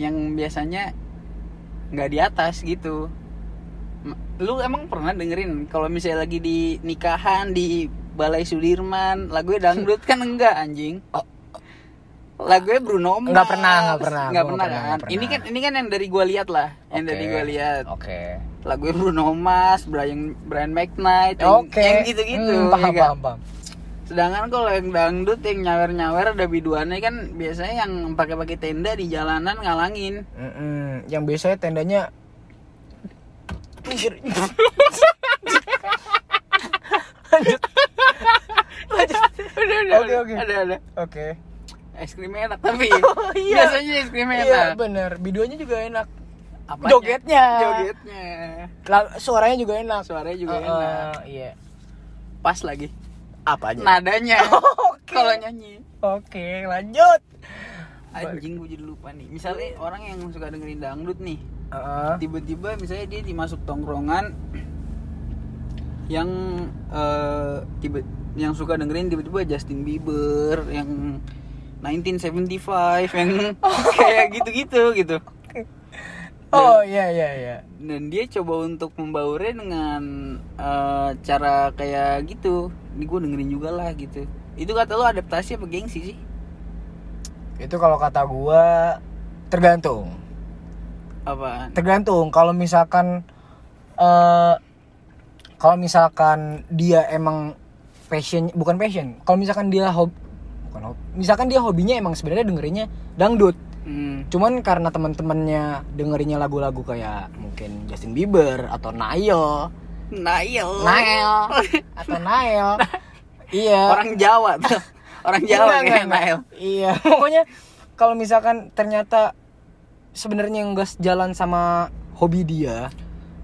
[SPEAKER 2] yang biasanya nggak di atas gitu M- lu emang pernah dengerin kalau misalnya lagi di nikahan di balai Sudirman lagunya dangdut kan enggak anjing lagunya Bruno Mars
[SPEAKER 1] Oh. Nggak pernah, nggak pernah.
[SPEAKER 2] nggak
[SPEAKER 1] Gua
[SPEAKER 2] pernah
[SPEAKER 1] nggak pernah,
[SPEAKER 2] kan
[SPEAKER 1] nggak
[SPEAKER 2] ini kan
[SPEAKER 1] pernah.
[SPEAKER 2] ini kan yang dari gua lihat lah yang dari
[SPEAKER 1] Oke.
[SPEAKER 2] gua lihat
[SPEAKER 1] Oke.
[SPEAKER 2] lagu Bruno Mars, Brian Brian McKnight, yang-
[SPEAKER 1] Oke.
[SPEAKER 2] yang gitu-gitu.
[SPEAKER 1] Hmm,
[SPEAKER 2] ya
[SPEAKER 1] paham,
[SPEAKER 2] kan?
[SPEAKER 1] paham, paham.
[SPEAKER 2] Sedangkan kalau yang dangdut yang nyawer-nyawer ada biduannya kan biasanya yang pakai-pakai tenda di jalanan
[SPEAKER 1] [LAUGHS]
[SPEAKER 2] ngalangin.
[SPEAKER 1] Mm-mm, yang biasanya tendanya pinggir. Lanjut.
[SPEAKER 2] Udah,
[SPEAKER 1] Oke, oke.
[SPEAKER 2] Ada ada.
[SPEAKER 1] Oke.
[SPEAKER 2] Es krimnya enak tapi.
[SPEAKER 1] [LAUGHS] Oh, iya.
[SPEAKER 2] Biasanya es krimnya enak.
[SPEAKER 1] Iya bener, videonya juga enak.
[SPEAKER 2] Apanya?
[SPEAKER 1] Jogetnya.
[SPEAKER 2] Jogetnya.
[SPEAKER 1] Lalu, suaranya juga enak.
[SPEAKER 2] Suaranya juga
[SPEAKER 1] Eh,
[SPEAKER 2] enak.
[SPEAKER 1] eh, Iya. Nah,
[SPEAKER 2] Pas lagi.
[SPEAKER 1] Apa aja?
[SPEAKER 2] Nadanya.
[SPEAKER 1] [LAUGHS] Oke.
[SPEAKER 2] Kalau nyanyi.
[SPEAKER 1] Oke, lanjut.
[SPEAKER 2] Anjing gue jadi lupa nih. Misalnya orang yang suka dengerin dangdut nih,
[SPEAKER 1] Heeh.
[SPEAKER 2] tiba-tiba misalnya dia dimasuk tongkrongan yang eh, tiba yang suka dengerin tiba-tiba Justin Bieber yang 1975 yang
[SPEAKER 1] [LAUGHS]
[SPEAKER 2] kayak gitu-gitu gitu.
[SPEAKER 1] oh iya iya iya
[SPEAKER 2] Dan dia coba untuk membaurnya dengan eh, cara kayak gitu. Ini gue dengerin juga lah gitu. Itu kata lo adaptasi apa gengsi sih?
[SPEAKER 1] itu kalau kata gua tergantung
[SPEAKER 2] Apaan?
[SPEAKER 1] tergantung kalau misalkan eh kalau misalkan dia emang passion bukan passion kalau misalkan dia hobi bukan hobi misalkan dia hobinya emang sebenarnya dengerinnya dangdut
[SPEAKER 2] Hmm.
[SPEAKER 1] cuman karena teman-temannya dengerinnya lagu-lagu kayak mungkin Justin Bieber atau Nail
[SPEAKER 2] Nail.
[SPEAKER 1] Nail
[SPEAKER 2] [LAUGHS]
[SPEAKER 1] atau Nail iya
[SPEAKER 2] Orang Jawa
[SPEAKER 1] [LAUGHS]
[SPEAKER 2] tuh. Orang
[SPEAKER 1] Enggak,
[SPEAKER 2] Jawa kayak
[SPEAKER 1] enggak,
[SPEAKER 2] Nail.
[SPEAKER 1] enggak. Iya, pokoknya kalau misalkan ternyata sebenarnya nggak sejalan sama hobi dia,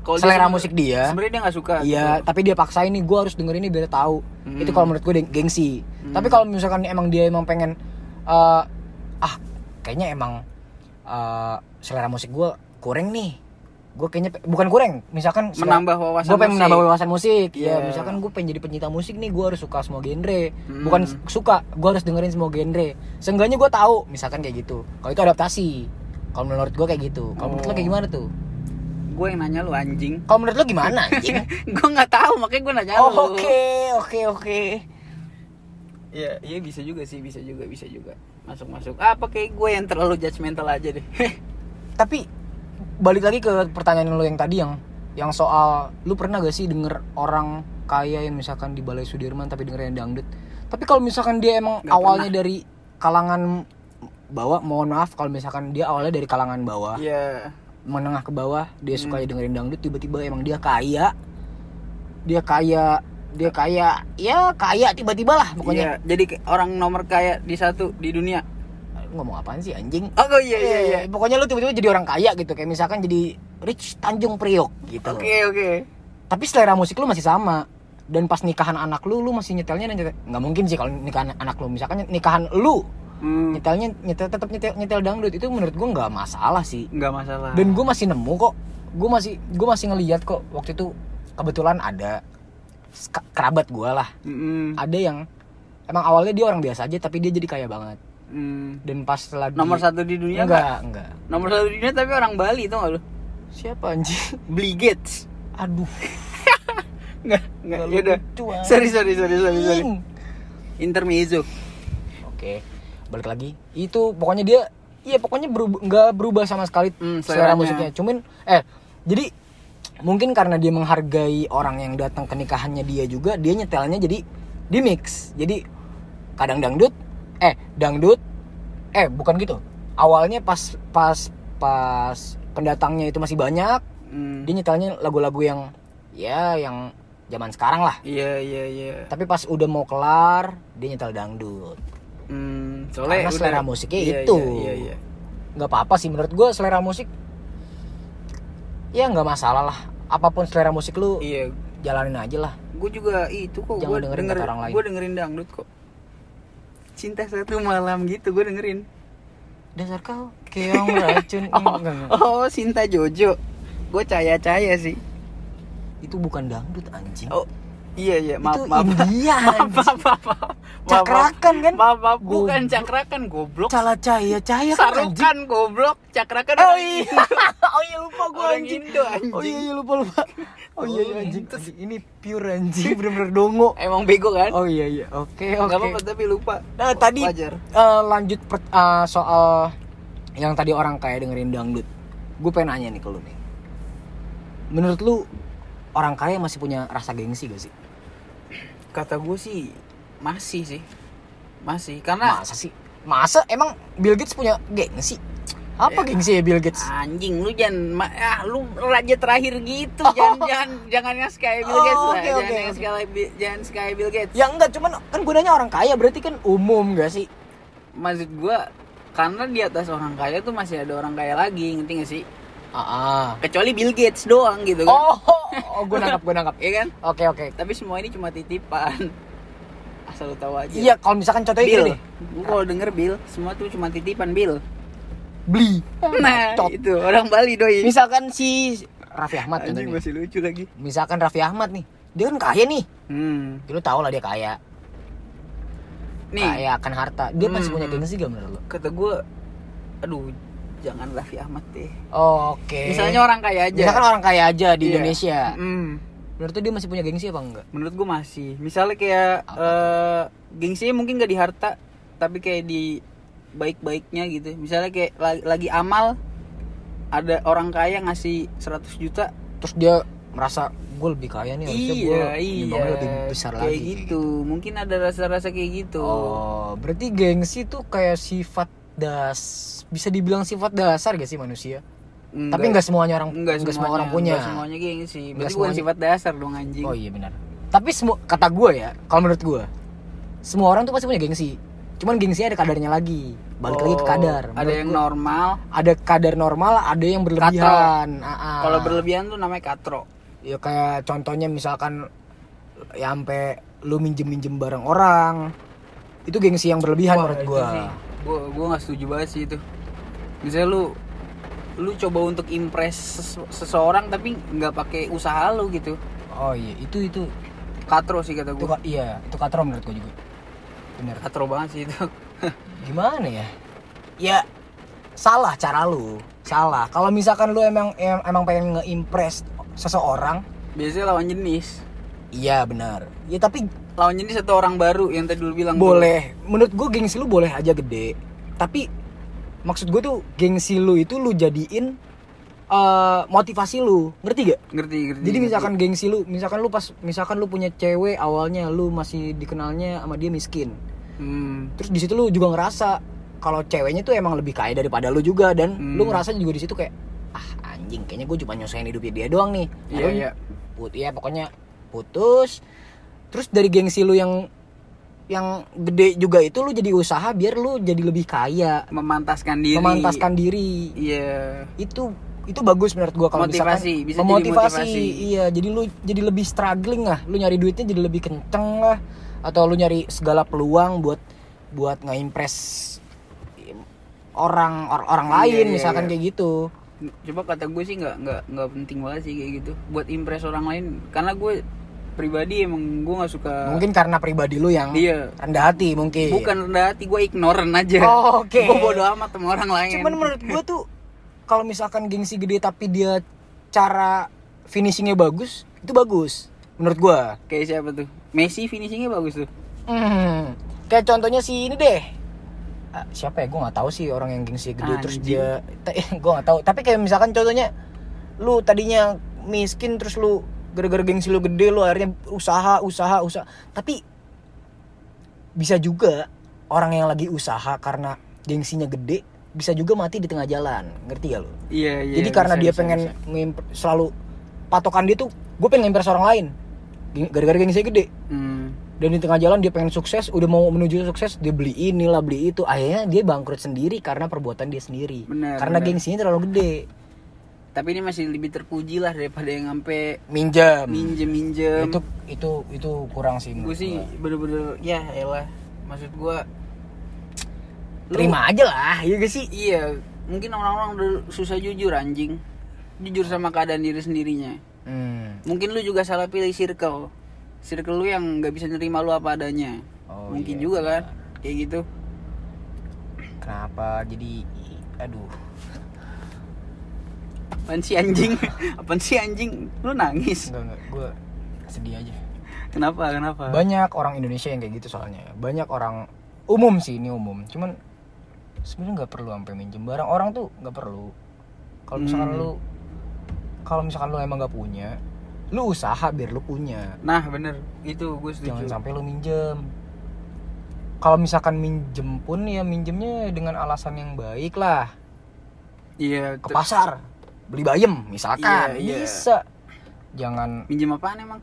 [SPEAKER 2] Kalau dia
[SPEAKER 1] selera
[SPEAKER 2] sebenernya-
[SPEAKER 1] musik dia.
[SPEAKER 2] Sebenarnya dia nggak suka. gitu.
[SPEAKER 1] Iya, tapi dia paksa ini gue harus denger ini biar tahu.
[SPEAKER 2] Hmm.
[SPEAKER 1] Itu kalau menurut gue deng- gengsi. Tapi kalau misalkan emang dia emang pengen eh, ah kayaknya emang eh, selera musik gue kurang nih. Gue kayaknya pe- bukan kurang, misalkan
[SPEAKER 2] gitu. menambah wawasan.
[SPEAKER 1] gue pengen
[SPEAKER 2] musik.
[SPEAKER 1] menambah wawasan musik ya
[SPEAKER 2] Iya.
[SPEAKER 1] misalkan gue pengen jadi pencinta musik nih gue harus suka semua genre
[SPEAKER 2] Hmm.
[SPEAKER 1] bukan s- suka gue harus dengerin semua genre seenggaknya gue tahu misalkan kayak gitu kalau itu adaptasi kalau menurut gue kayak gitu kalau menurut lo
[SPEAKER 2] Oh.
[SPEAKER 1] kayak gimana tuh
[SPEAKER 2] Gue yang nanya lu
[SPEAKER 1] [LAUGHS]
[SPEAKER 2] anjing.
[SPEAKER 1] kalau menurut lo gimana anjing?
[SPEAKER 2] [LAUGHS] gue nggak tahu makanya gue nanya
[SPEAKER 1] Iya. [LAUGHS] Oh,
[SPEAKER 2] lu.
[SPEAKER 1] oke oke oke
[SPEAKER 2] Iya, iya bisa juga sih, bisa juga, bisa juga. Masuk masuk. Apa kayak gue yang terlalu judgmental aja deh. [LAUGHS]
[SPEAKER 1] tapi balik lagi ke pertanyaan lo yang tadi yang yang soal lu pernah gak sih denger orang kaya yang misalkan di Balai Sudirman tapi dengerin dangdut tapi kalau misalkan dia emang
[SPEAKER 2] Nggak
[SPEAKER 1] awalnya dari kalangan bawah mohon maaf kalau misalkan dia awalnya dari kalangan bawah
[SPEAKER 2] Iya.
[SPEAKER 1] menengah ke bawah dia suka
[SPEAKER 2] Hmm.
[SPEAKER 1] dengerin dangdut tiba-tiba emang dia kaya dia kaya dia kaya ya kaya tiba-tiba lah pokoknya
[SPEAKER 2] Iya, jadi kayak orang nomor kaya di satu di dunia.
[SPEAKER 1] ngomong apaan sih anjing
[SPEAKER 2] Oh oh, iya iya iya.
[SPEAKER 1] Eh, pokoknya lu tiba-tiba jadi orang kaya gitu kayak misalkan jadi Rich Tanjung Priok gitu
[SPEAKER 2] Oke oke.
[SPEAKER 1] tapi selera musik lu masih sama dan pas nikahan anak lu lu masih nyetelnya nyetel- nggak mungkin sih kalau nikahan anak lu misalkan nikahan lu
[SPEAKER 2] Hmm,
[SPEAKER 1] nyetelnya nyetel tetap nyetel, nyetel dangdut itu menurut gua nggak masalah sih
[SPEAKER 2] nggak masalah.
[SPEAKER 1] dan gue masih nemu kok gue masih gue masih ngeliat kok waktu itu kebetulan ada ska- kerabat gua lah
[SPEAKER 2] Mm-mm,
[SPEAKER 1] ada yang emang awalnya dia orang biasa aja tapi dia jadi kaya banget
[SPEAKER 2] mm.
[SPEAKER 1] dan pas setelah di-
[SPEAKER 2] Nomor satu di dunia nggak?
[SPEAKER 1] enggak enggak
[SPEAKER 2] Nomor satu di dunia tapi orang Bali itu nggak lu?
[SPEAKER 1] siapa anjing
[SPEAKER 2] Beli Gates.
[SPEAKER 1] aduh
[SPEAKER 2] Nggak nggak.
[SPEAKER 1] Nggak
[SPEAKER 2] Yaudah.
[SPEAKER 1] lucu, anjing.
[SPEAKER 2] Sorry sorry sorry sorry sorry.
[SPEAKER 1] Anjing.
[SPEAKER 2] Intermezzo.
[SPEAKER 1] Oke, balik lagi. Itu pokoknya dia, iya pokoknya berub- nggak berubah sama sekali
[SPEAKER 2] Hmm,
[SPEAKER 1] selera
[SPEAKER 2] seleranya.
[SPEAKER 1] musiknya. Cuman, eh, jadi mungkin karena dia menghargai orang yang datang ke nikahannya dia juga, dia nyetelnya jadi di mix. Jadi kadang dangdut, eh dangdut, eh bukan gitu. Awalnya pas pas pas pendatangnya itu masih banyak,
[SPEAKER 2] Mm.
[SPEAKER 1] dia nyetelnya lagu-lagu yang ya yang zaman sekarang lah.
[SPEAKER 2] Iya iya iya.
[SPEAKER 1] Tapi pas udah mau kelar, dia nyetel dangdut.
[SPEAKER 2] Hmm,
[SPEAKER 1] Karena
[SPEAKER 2] soalnya udah-
[SPEAKER 1] selera musiknya
[SPEAKER 2] iya,
[SPEAKER 1] itu.
[SPEAKER 2] Iya, iya, iya.
[SPEAKER 1] nggak apa-apa sih menurut gue selera musik ya nggak masalah lah apapun selera musik lu
[SPEAKER 2] Iya,
[SPEAKER 1] jalanin aja lah
[SPEAKER 2] gue juga itu kok.
[SPEAKER 1] Jangan
[SPEAKER 2] Gue
[SPEAKER 1] dengerin
[SPEAKER 2] denger,
[SPEAKER 1] kata orang lain.
[SPEAKER 2] Gue dengerin dangdut kok. Cinta satu malam gitu gue dengerin.
[SPEAKER 1] dasar kau keong racun [LAUGHS] Enggak, enggak, enggak.
[SPEAKER 2] Oh, Cinta Jojo. Gue caya-caya sih.
[SPEAKER 1] itu bukan dangdut anjing
[SPEAKER 2] Oh, iya iya. Maaf
[SPEAKER 1] itu India
[SPEAKER 2] maaf. [LAUGHS] maaf
[SPEAKER 1] anjing.
[SPEAKER 2] maaf maaf. Maaf, maaf.
[SPEAKER 1] cakrakan kan
[SPEAKER 2] Maaf maaf. Bukan
[SPEAKER 1] Goblok.
[SPEAKER 2] cakrakan goblok.
[SPEAKER 1] cala cahaya cahaya kan anjing
[SPEAKER 2] Sarukan goblok. Cakrakan.
[SPEAKER 1] oh
[SPEAKER 2] orang
[SPEAKER 1] iya [LAUGHS]
[SPEAKER 2] Indo.
[SPEAKER 1] oh iya lupa gue
[SPEAKER 2] Orang
[SPEAKER 1] anjing
[SPEAKER 2] Indo, anjing.
[SPEAKER 1] oh iya iya lupa lupa oh iya, iya
[SPEAKER 2] Oh,
[SPEAKER 1] anjing
[SPEAKER 2] terus-
[SPEAKER 1] Anjing, ini pure anjing bener-bener dongo
[SPEAKER 2] Emang bego kan?
[SPEAKER 1] oh iya iya oke oke
[SPEAKER 2] Nggak apa-apa tapi lupa.
[SPEAKER 1] Nah, tadi
[SPEAKER 2] Wajar.
[SPEAKER 1] eh, lanjut per- eh, soal yang tadi orang kaya dengerin dangdut. Gue pengen nanya nih ke lu nih. Menurut lu orang kaya masih punya rasa gengsi gak sih?
[SPEAKER 2] Kata gue sih masih sih. Masih karena
[SPEAKER 1] Masa sih? Masa emang Bill Gates punya gengsi? Apa gengsi ya Bill Gates?
[SPEAKER 2] Anjing lu jangan ma- ah, lu raja terakhir gitu. Jangan jangan jangan yang kayak Bill
[SPEAKER 1] Oh,
[SPEAKER 2] Gates lah.
[SPEAKER 1] oke,
[SPEAKER 2] jangan
[SPEAKER 1] oke,
[SPEAKER 2] yang
[SPEAKER 1] oke.
[SPEAKER 2] sekali Bi- jangan sekali Bill Gates.
[SPEAKER 1] Ya enggak, cuman kan gunanya orang kaya berarti kan umum gak sih?
[SPEAKER 2] Maksud gua karena di atas orang kaya tuh masih ada orang kaya lagi, ngerti gak sih?
[SPEAKER 1] Ah.
[SPEAKER 2] Kecuali Bill Gates doang gitu kan.
[SPEAKER 1] Oh, oh gue nangkap, gue nangkap.
[SPEAKER 2] Iya kan?
[SPEAKER 1] Oke, oke.
[SPEAKER 2] Tapi semua ini cuma titipan. [LAUGHS] Asal lu tahu aja.
[SPEAKER 1] Iya, kalau misalkan contohnya
[SPEAKER 2] Bill.
[SPEAKER 1] gini nih.
[SPEAKER 2] Gua kalau denger Bill, semua tuh cuma titipan Bill.
[SPEAKER 1] Beli.
[SPEAKER 2] Nah, iya.
[SPEAKER 1] Cot.
[SPEAKER 2] itu orang Bali doi.
[SPEAKER 1] Misalkan si Raffi Ahmad
[SPEAKER 2] Anjing
[SPEAKER 1] contohnya.
[SPEAKER 2] masih lucu lagi.
[SPEAKER 1] Misalkan Raffi Ahmad nih, dia kan kaya nih.
[SPEAKER 2] Hmm.
[SPEAKER 1] Ya, lu tau lah dia kaya
[SPEAKER 2] Nih.
[SPEAKER 1] kayak akan harta dia masih
[SPEAKER 2] Hmm.
[SPEAKER 1] punya gengsi gak menurut lo
[SPEAKER 2] kata gue aduh jangan Raffi Ahmad deh
[SPEAKER 1] oke
[SPEAKER 2] misalnya orang kaya aja
[SPEAKER 1] Eh. misalkan orang kaya aja di
[SPEAKER 2] Iya.
[SPEAKER 1] Indonesia
[SPEAKER 2] Mm.
[SPEAKER 1] menurut lo dia masih punya gengsi apa enggak
[SPEAKER 2] menurut gue masih misalnya kayak eh gengsinya mungkin gak di harta tapi kayak di baik-baiknya gitu misalnya kayak lagi, lagi amal ada orang kaya ngasih 100 juta
[SPEAKER 1] terus dia merasa gue lebih kaya nih harusnya gue
[SPEAKER 2] iya iya
[SPEAKER 1] nyumbangnya lebih besar
[SPEAKER 2] kayak
[SPEAKER 1] lagi
[SPEAKER 2] gitu mungkin ada rasa-rasa kayak gitu
[SPEAKER 1] oh berarti gengsi tuh kayak sifat das bisa dibilang sifat dasar gak sih manusia tapi nggak semuanya orang
[SPEAKER 2] enggak,
[SPEAKER 1] nggak semua orang punya
[SPEAKER 2] enggak semuanya gengsi berarti bukan
[SPEAKER 1] semuanya.
[SPEAKER 2] sifat dasar dong anjing
[SPEAKER 1] Oh iya benar. Tapi semua kata gue ya, kalau menurut gue, semua orang tuh pasti punya gengsi. Cuman gengsinya ada kadarnya lagi. Balik lagi ke
[SPEAKER 2] Oh,
[SPEAKER 1] kadar.
[SPEAKER 2] ada
[SPEAKER 1] Menurut
[SPEAKER 2] yang
[SPEAKER 1] gua,
[SPEAKER 2] normal
[SPEAKER 1] ada kadar normal, ada yang berlebihan. Ah-ah.
[SPEAKER 2] kalau berlebihan tuh namanya katro
[SPEAKER 1] ya kayak contohnya misalkan ya sampai lu minjem-minjem barang orang. Itu gengsi yang berlebihan Iya, menurut gue.
[SPEAKER 2] gue gue nggak setuju banget sih itu misalnya lu lu coba untuk impress ses- seseorang tapi nggak pakai usaha lu gitu
[SPEAKER 1] Oh iya, itu itu
[SPEAKER 2] katro sih kata
[SPEAKER 1] itu
[SPEAKER 2] gue
[SPEAKER 1] ka- iya, itu katro menurut gue juga. Bener.
[SPEAKER 2] katro banget sih itu [LAUGHS]
[SPEAKER 1] gimana ya ya salah cara lu salah kalau misalkan lu emang em- emang pengen ngeimpress seseorang
[SPEAKER 2] biasanya lawan jenis
[SPEAKER 1] iya benar ya tapi
[SPEAKER 2] lawan jenis atau orang baru yang tadi lu bilang tuh.
[SPEAKER 1] boleh menurut gue gengsi lu boleh aja gede tapi maksud gue tuh gengsi lu itu lu jadiin eh, motivasi lu ngerti gak
[SPEAKER 2] ngerti ngerti
[SPEAKER 1] jadi
[SPEAKER 2] Hmm, ngerti.
[SPEAKER 1] misalkan gengsi lu misalkan lu pas misalkan lu punya cewek awalnya lu masih dikenalnya sama dia miskin
[SPEAKER 2] hmm.
[SPEAKER 1] terus di situ lu juga ngerasa kalau ceweknya tuh emang lebih kaya daripada lu juga dan
[SPEAKER 2] Hmm.
[SPEAKER 1] lu ngerasa juga di situ kayak ah anjing kayaknya gue cuma nyusahin hidupnya dia doang nih
[SPEAKER 2] Iya,
[SPEAKER 1] Lalu
[SPEAKER 2] iya.
[SPEAKER 1] put ya pokoknya putus terus dari gengsi lu yang yang gede juga itu lu jadi usaha biar lu jadi lebih kaya
[SPEAKER 2] memantaskan diri
[SPEAKER 1] memantaskan diri
[SPEAKER 2] iya
[SPEAKER 1] itu itu bagus menurut gua kalau misalkan
[SPEAKER 2] Motivasi, bisa jadi
[SPEAKER 1] memotivasi,
[SPEAKER 2] motivasi.
[SPEAKER 1] iya jadi lu jadi lebih struggling lah lu nyari duitnya jadi lebih kenceng lah atau lu nyari segala peluang buat buat ngeimpress im- orang or- orang
[SPEAKER 2] Iya,
[SPEAKER 1] lain
[SPEAKER 2] iya,
[SPEAKER 1] misalkan
[SPEAKER 2] iya.
[SPEAKER 1] kayak gitu
[SPEAKER 2] coba kata gue sih nggak nggak nggak penting banget sih kayak gitu buat impress orang lain karena gue pribadi emang gue nggak suka
[SPEAKER 1] mungkin karena pribadi lu yang
[SPEAKER 2] Ah. Iya.
[SPEAKER 1] rendah hati mungkin
[SPEAKER 2] bukan rendah hati gue ignoran aja
[SPEAKER 1] Oh, oke.
[SPEAKER 2] gue bodo amat sama orang lain
[SPEAKER 1] cuman menurut gua tuh kalau misalkan gengsi gede tapi dia cara finishingnya bagus itu bagus menurut gua
[SPEAKER 2] kayak siapa tuh Messi finishingnya bagus tuh
[SPEAKER 1] Hmm, kayak contohnya si ini deh. Ah, siapa ya? Gue nggak tahu sih orang yang gengsi gede terus
[SPEAKER 2] Anjing.
[SPEAKER 1] dia, gue nggak tahu. Tapi kayak misalkan contohnya, lu tadinya miskin terus lu gara-gara gengsi lu gede lu akhirnya usaha usaha usaha. Tapi bisa juga orang yang lagi usaha karena gengsinya gede bisa juga mati di tengah jalan, ngerti ya lu?
[SPEAKER 2] iya iya
[SPEAKER 1] Jadi karena
[SPEAKER 2] bisa,
[SPEAKER 1] dia
[SPEAKER 2] bisa,
[SPEAKER 1] pengen
[SPEAKER 2] bisa.
[SPEAKER 1] ngimp- selalu patokan dia tuh, gue pengen ngimpress orang lain. Geng- Gara-gara gengsi gede,
[SPEAKER 2] Hmm.
[SPEAKER 1] dan di tengah jalan dia pengen sukses udah mau menuju sukses dia beli inilah beli itu akhirnya dia bangkrut sendiri karena perbuatan dia sendiri
[SPEAKER 2] Bener,
[SPEAKER 1] karena
[SPEAKER 2] bener.
[SPEAKER 1] gengsinya terlalu gede
[SPEAKER 2] tapi ini masih lebih terpuji lah daripada yang sampai
[SPEAKER 1] minjem
[SPEAKER 2] minjem minjem
[SPEAKER 1] Hmm. Nah, itu itu itu kurang sih
[SPEAKER 2] gue
[SPEAKER 1] menurut
[SPEAKER 2] sih
[SPEAKER 1] gua.
[SPEAKER 2] bener-bener ya elah maksud gue
[SPEAKER 1] terima aja lah ya gak sih
[SPEAKER 2] iya mungkin orang-orang udah susah jujur anjing jujur sama keadaan diri sendirinya
[SPEAKER 1] hmm.
[SPEAKER 2] mungkin lu juga salah pilih circle circle lu yang nggak bisa nerima lu apa adanya
[SPEAKER 1] Oh, iya,
[SPEAKER 2] mungkin juga kan kayak gitu
[SPEAKER 1] kenapa jadi aduh
[SPEAKER 2] apaan sih anjing [LAUGHS] apaan sih anjing lu nangis
[SPEAKER 1] enggak enggak gue sedih aja
[SPEAKER 2] kenapa kenapa
[SPEAKER 1] banyak orang Indonesia yang kayak gitu soalnya banyak orang umum sih ini umum cuman sebenarnya nggak perlu sampai minjem barang orang tuh nggak perlu kalau misalkan
[SPEAKER 2] Hmm.
[SPEAKER 1] lu kalau misalkan lu emang nggak punya lu usaha biar lu punya
[SPEAKER 2] nah bener itu gue
[SPEAKER 1] jangan
[SPEAKER 2] setuju
[SPEAKER 1] sampai lu minjem kalau misalkan minjem pun ya minjemnya dengan alasan yang baik lah
[SPEAKER 2] iya
[SPEAKER 1] ke
[SPEAKER 2] ter-
[SPEAKER 1] pasar beli bayem misalkan
[SPEAKER 2] Iya, iya.
[SPEAKER 1] bisa jangan
[SPEAKER 2] minjem apaan emang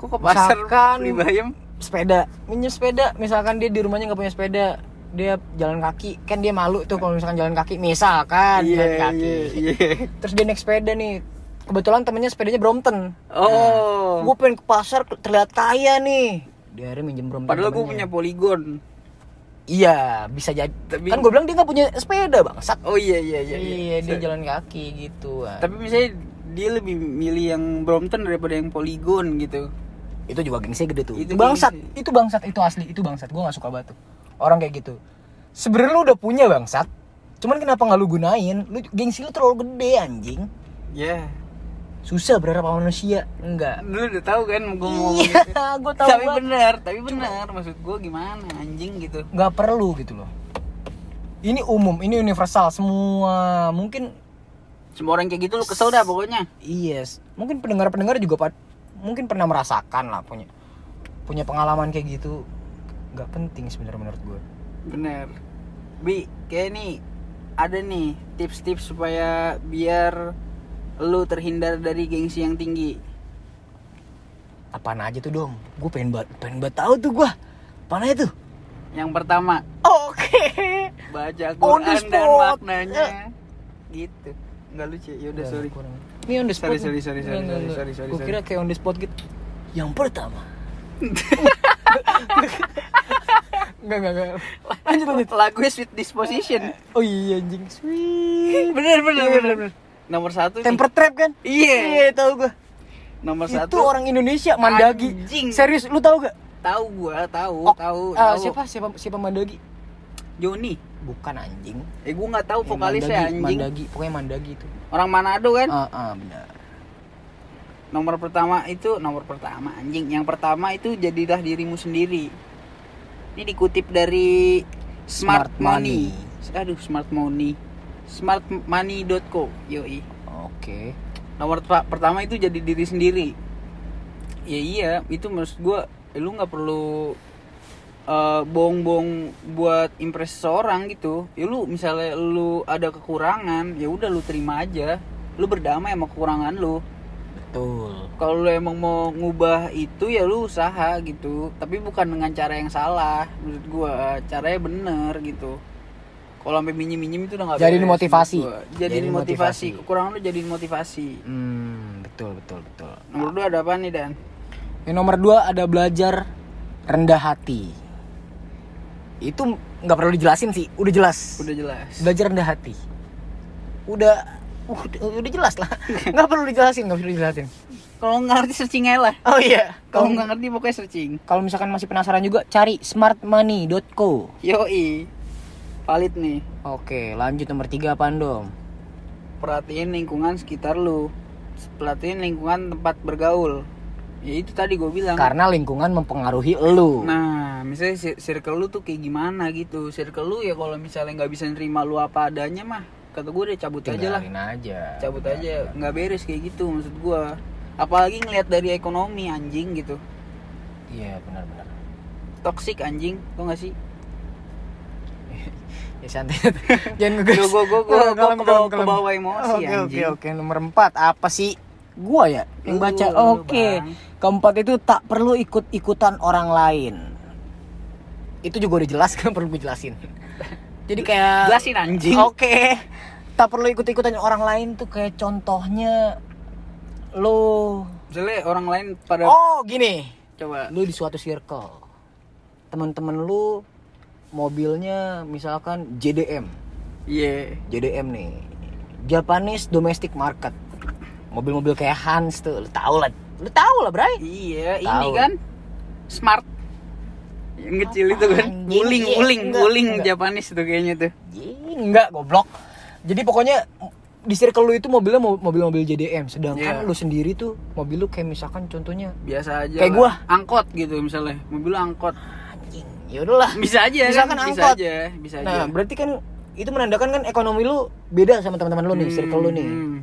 [SPEAKER 2] kok ke pasar
[SPEAKER 1] Misalkan-
[SPEAKER 2] beli bayam
[SPEAKER 1] sepeda minjem sepeda misalkan dia di rumahnya nggak punya sepeda dia jalan kaki kan dia malu tuh kalau misalkan jalan kaki misalkan jalan
[SPEAKER 2] iya
[SPEAKER 1] kaki
[SPEAKER 2] iya iya
[SPEAKER 1] terus dia naik sepeda nih kebetulan temennya sepedanya Brompton
[SPEAKER 2] oh
[SPEAKER 1] gue pengen ke pasar terlihat kaya nih dia akhirnya minjem Brompton
[SPEAKER 2] padahal gue
[SPEAKER 1] temennya.
[SPEAKER 2] punya poligon
[SPEAKER 1] iya bisa jadi
[SPEAKER 2] Tapi-
[SPEAKER 1] kan gue bilang dia nggak punya sepeda bangsat
[SPEAKER 2] oh iya iya iya,
[SPEAKER 1] iya dia jalan kaki gitu
[SPEAKER 2] tapi misalnya dia lebih milih yang Brompton daripada yang poligon gitu
[SPEAKER 3] itu juga gengsi gede tuh
[SPEAKER 2] Itu
[SPEAKER 1] bangsat
[SPEAKER 2] gengsi.
[SPEAKER 1] itu bangsat itu asli itu bangsat gue nggak suka banget tuh. orang kayak gitu sebenarnya lu udah punya bangsat cuman kenapa nggak lu gunain lu gengsi lu terlalu gede anjing Iya.
[SPEAKER 2] Ya.
[SPEAKER 1] susah berharap sama manusia enggak
[SPEAKER 2] Lu udah tahu kan gua mau ngomong gitu.
[SPEAKER 1] iya gue tahu
[SPEAKER 2] tapi
[SPEAKER 1] [LAUGHS] gua
[SPEAKER 2] benar, tapi benar. Maksud gua gimana anjing gitu.
[SPEAKER 1] nggak perlu gitu loh ini umum ini universal semua mungkin
[SPEAKER 2] Semua orang kayak gitu lu kesel dah pokoknya.
[SPEAKER 1] Yes, mungkin pendengar-pendengar juga pad- mungkin pernah merasakan lah punya punya pengalaman kayak gitu. Gak penting sebenarnya menurut gue.
[SPEAKER 2] Bener. Bi, kayak nih ada nih tips-tips supaya biar lu terhindar dari gengsi yang tinggi.
[SPEAKER 1] Apaan aja tuh dong? Gue pengen banget pengen banget tahu tuh gue. Apaan aja tuh?
[SPEAKER 2] Yang pertama,
[SPEAKER 1] Oke.
[SPEAKER 2] baca
[SPEAKER 1] On the
[SPEAKER 2] Quran dan
[SPEAKER 1] spot. Eh.
[SPEAKER 2] maknanya. Gitu. Enggak lucu. Ya
[SPEAKER 1] Iya,
[SPEAKER 2] udah sorry.
[SPEAKER 1] Ini on the spot.
[SPEAKER 2] Sorry, sorry, sorry, sorry,
[SPEAKER 1] Enggak, enggak,
[SPEAKER 2] sorry,
[SPEAKER 1] enggak.
[SPEAKER 2] sorry,
[SPEAKER 1] Gua
[SPEAKER 2] sorry.
[SPEAKER 1] kira kayak on the spot gitu. Yang pertama. Enggak, enggak, enggak.
[SPEAKER 2] Lanjut Lagunya Sweet Disposition.
[SPEAKER 1] Oh iya anjing. Sweet. Iya,
[SPEAKER 2] bener, bener, bener, bener. Nomor satu nih.
[SPEAKER 1] Temper trap kan?
[SPEAKER 2] Iya.
[SPEAKER 1] Iya, tahu gue.
[SPEAKER 2] Nomor
[SPEAKER 1] Itu
[SPEAKER 2] satu.
[SPEAKER 1] orang Indonesia Mandagi.
[SPEAKER 2] Anjing.
[SPEAKER 1] Serius, lu tahu gak?
[SPEAKER 2] Tahu gua,
[SPEAKER 1] Oh,
[SPEAKER 2] tahu, tahu,
[SPEAKER 1] eh,
[SPEAKER 2] tahu.
[SPEAKER 1] siapa siapa siapa Mandagi?
[SPEAKER 2] Joni.
[SPEAKER 1] Bukan anjing.
[SPEAKER 2] Eh gua nggak tahu
[SPEAKER 1] Yang
[SPEAKER 2] vokalisnya
[SPEAKER 1] Mandagi,
[SPEAKER 2] anjing.
[SPEAKER 1] Mandagi, pokoknya Mandagi itu.
[SPEAKER 2] Orang Manado kan?
[SPEAKER 1] Ah, ah, benar.
[SPEAKER 2] Nomor pertama itu nomor pertama anjing. Yang pertama itu jadilah dirimu sendiri. Ini dikutip dari
[SPEAKER 1] Smart
[SPEAKER 2] Smart, Money.
[SPEAKER 1] Money.
[SPEAKER 2] Aduh, Smart Money. Smartmoney.co. Yoi.
[SPEAKER 1] Oke.
[SPEAKER 2] Nomor pa- pertama itu jadi diri sendiri. Ya iya, itu maksud gua eh, lu nggak perlu eh, bohong-bohong buat impress seorang gitu. Ya lu misalnya lu ada kekurangan, ya udah lu terima aja. Lu berdamai sama kekurangan lu
[SPEAKER 1] Betul.
[SPEAKER 2] kalau lu emang mau ngubah itu ya lu usaha gitu tapi bukan dengan cara yang salah menurut gua caranya bener gitu kalau sampai minjem minjem itu udah nggak
[SPEAKER 1] Jadiin
[SPEAKER 2] beres,
[SPEAKER 1] motivasi.
[SPEAKER 2] menurut gua. jadiin
[SPEAKER 1] Jadiin
[SPEAKER 2] motivasi
[SPEAKER 1] motivasi.
[SPEAKER 2] kekurangan lu jadiin motivasi
[SPEAKER 1] Hmm, betul, betul, betul.
[SPEAKER 2] nomor dua ada apa nih dan
[SPEAKER 1] Yang nomor dua ada belajar rendah hati. Itu nggak perlu dijelasin sih, udah jelas.
[SPEAKER 2] udah jelas
[SPEAKER 1] Belajar rendah hati. Udah udah, udah jelas
[SPEAKER 2] [LAUGHS]
[SPEAKER 1] lah. Nggak perlu dijelasin, nggak perlu dijelasin.
[SPEAKER 2] kalau nggak ngerti searching aja lah
[SPEAKER 1] Oh iya.
[SPEAKER 2] kalau
[SPEAKER 1] Kalau
[SPEAKER 2] nggak ngerti pokoknya searching
[SPEAKER 1] kalau misalkan masih penasaran juga cari smartmoney.co.
[SPEAKER 2] yoi valid nih
[SPEAKER 1] Oke, lanjut nomor tiga apaan dong?
[SPEAKER 2] perhatiin lingkungan sekitar lu perhatiin lingkungan tempat bergaul ya itu tadi gue bilang
[SPEAKER 1] Karena lingkungan mempengaruhi elu.
[SPEAKER 2] Nah, misalnya si- circle lu tuh kayak gimana gitu. Circle lu ya kalau misalnya nggak bisa nerima lu apa adanya mah, kata gue udah cabut aja lah.
[SPEAKER 1] Tinggalin aja.
[SPEAKER 2] Cabut aja, nggak beres kayak gitu maksud gua. Apalagi ngelihat dari ekonomi anjing gitu.
[SPEAKER 1] Iya, benar-benar.
[SPEAKER 2] Toxic anjing, tau gak sih?
[SPEAKER 1] Ya santai. [LAUGHS] Jangan ngegas.
[SPEAKER 2] Gue gue gue gue
[SPEAKER 1] Kalem, kalem,
[SPEAKER 2] kebawa,
[SPEAKER 1] kalem.
[SPEAKER 2] kebawa emosi
[SPEAKER 1] Oke, oke,
[SPEAKER 2] anjing.
[SPEAKER 1] oke. Nomor empat apa sih? Gua ya yang
[SPEAKER 2] Lu,
[SPEAKER 1] baca.
[SPEAKER 2] lu,
[SPEAKER 1] Oke.
[SPEAKER 2] Bang.
[SPEAKER 1] Keempat itu tak perlu ikut-ikutan orang lain. Itu juga udah jelas [LAUGHS] kan perlu gue jelasin. Jadi kayak
[SPEAKER 2] Jelasin anjing.
[SPEAKER 1] Oke. Tak perlu ikut-ikutan orang lain tuh kayak contohnya lo
[SPEAKER 2] Misalnya orang lain pada
[SPEAKER 1] Oh, gini.
[SPEAKER 2] coba
[SPEAKER 1] lu di suatu circle teman-teman lu mobilnya misalkan JDM
[SPEAKER 2] iya
[SPEAKER 1] JDM nih Japanese domestic market mobil-mobil kayak Hans tuh lu tau lah lu tau lah Bray
[SPEAKER 2] Iya, ini
[SPEAKER 1] Tahu.
[SPEAKER 2] kan smart. Yang kecil itu kan
[SPEAKER 1] Apaan?
[SPEAKER 2] guling,
[SPEAKER 1] Iya,
[SPEAKER 2] guling,
[SPEAKER 1] enggak,
[SPEAKER 2] guling
[SPEAKER 1] enggak.
[SPEAKER 2] Japanis tuh kayaknya tuh.
[SPEAKER 1] Jing, enggak goblok jadi pokoknya di circle lu itu mobilnya mo- mobil-mobil JDM sedangkan
[SPEAKER 2] Iya.
[SPEAKER 1] lu sendiri tuh mobil lu kayak misalkan contohnya
[SPEAKER 2] biasa aja
[SPEAKER 1] Kayak
[SPEAKER 2] lah.
[SPEAKER 1] gua.
[SPEAKER 2] angkot gitu misalnya mobil angkot
[SPEAKER 1] anjing yaudahlah
[SPEAKER 2] bisa aja
[SPEAKER 1] Misalkan
[SPEAKER 2] kan? bisa
[SPEAKER 1] angkot.
[SPEAKER 2] aja bisa aja
[SPEAKER 1] nah berarti kan itu menandakan kan ekonomi lu beda sama teman-teman lu nih
[SPEAKER 2] Hmm,
[SPEAKER 1] circle lu nih
[SPEAKER 2] hmm.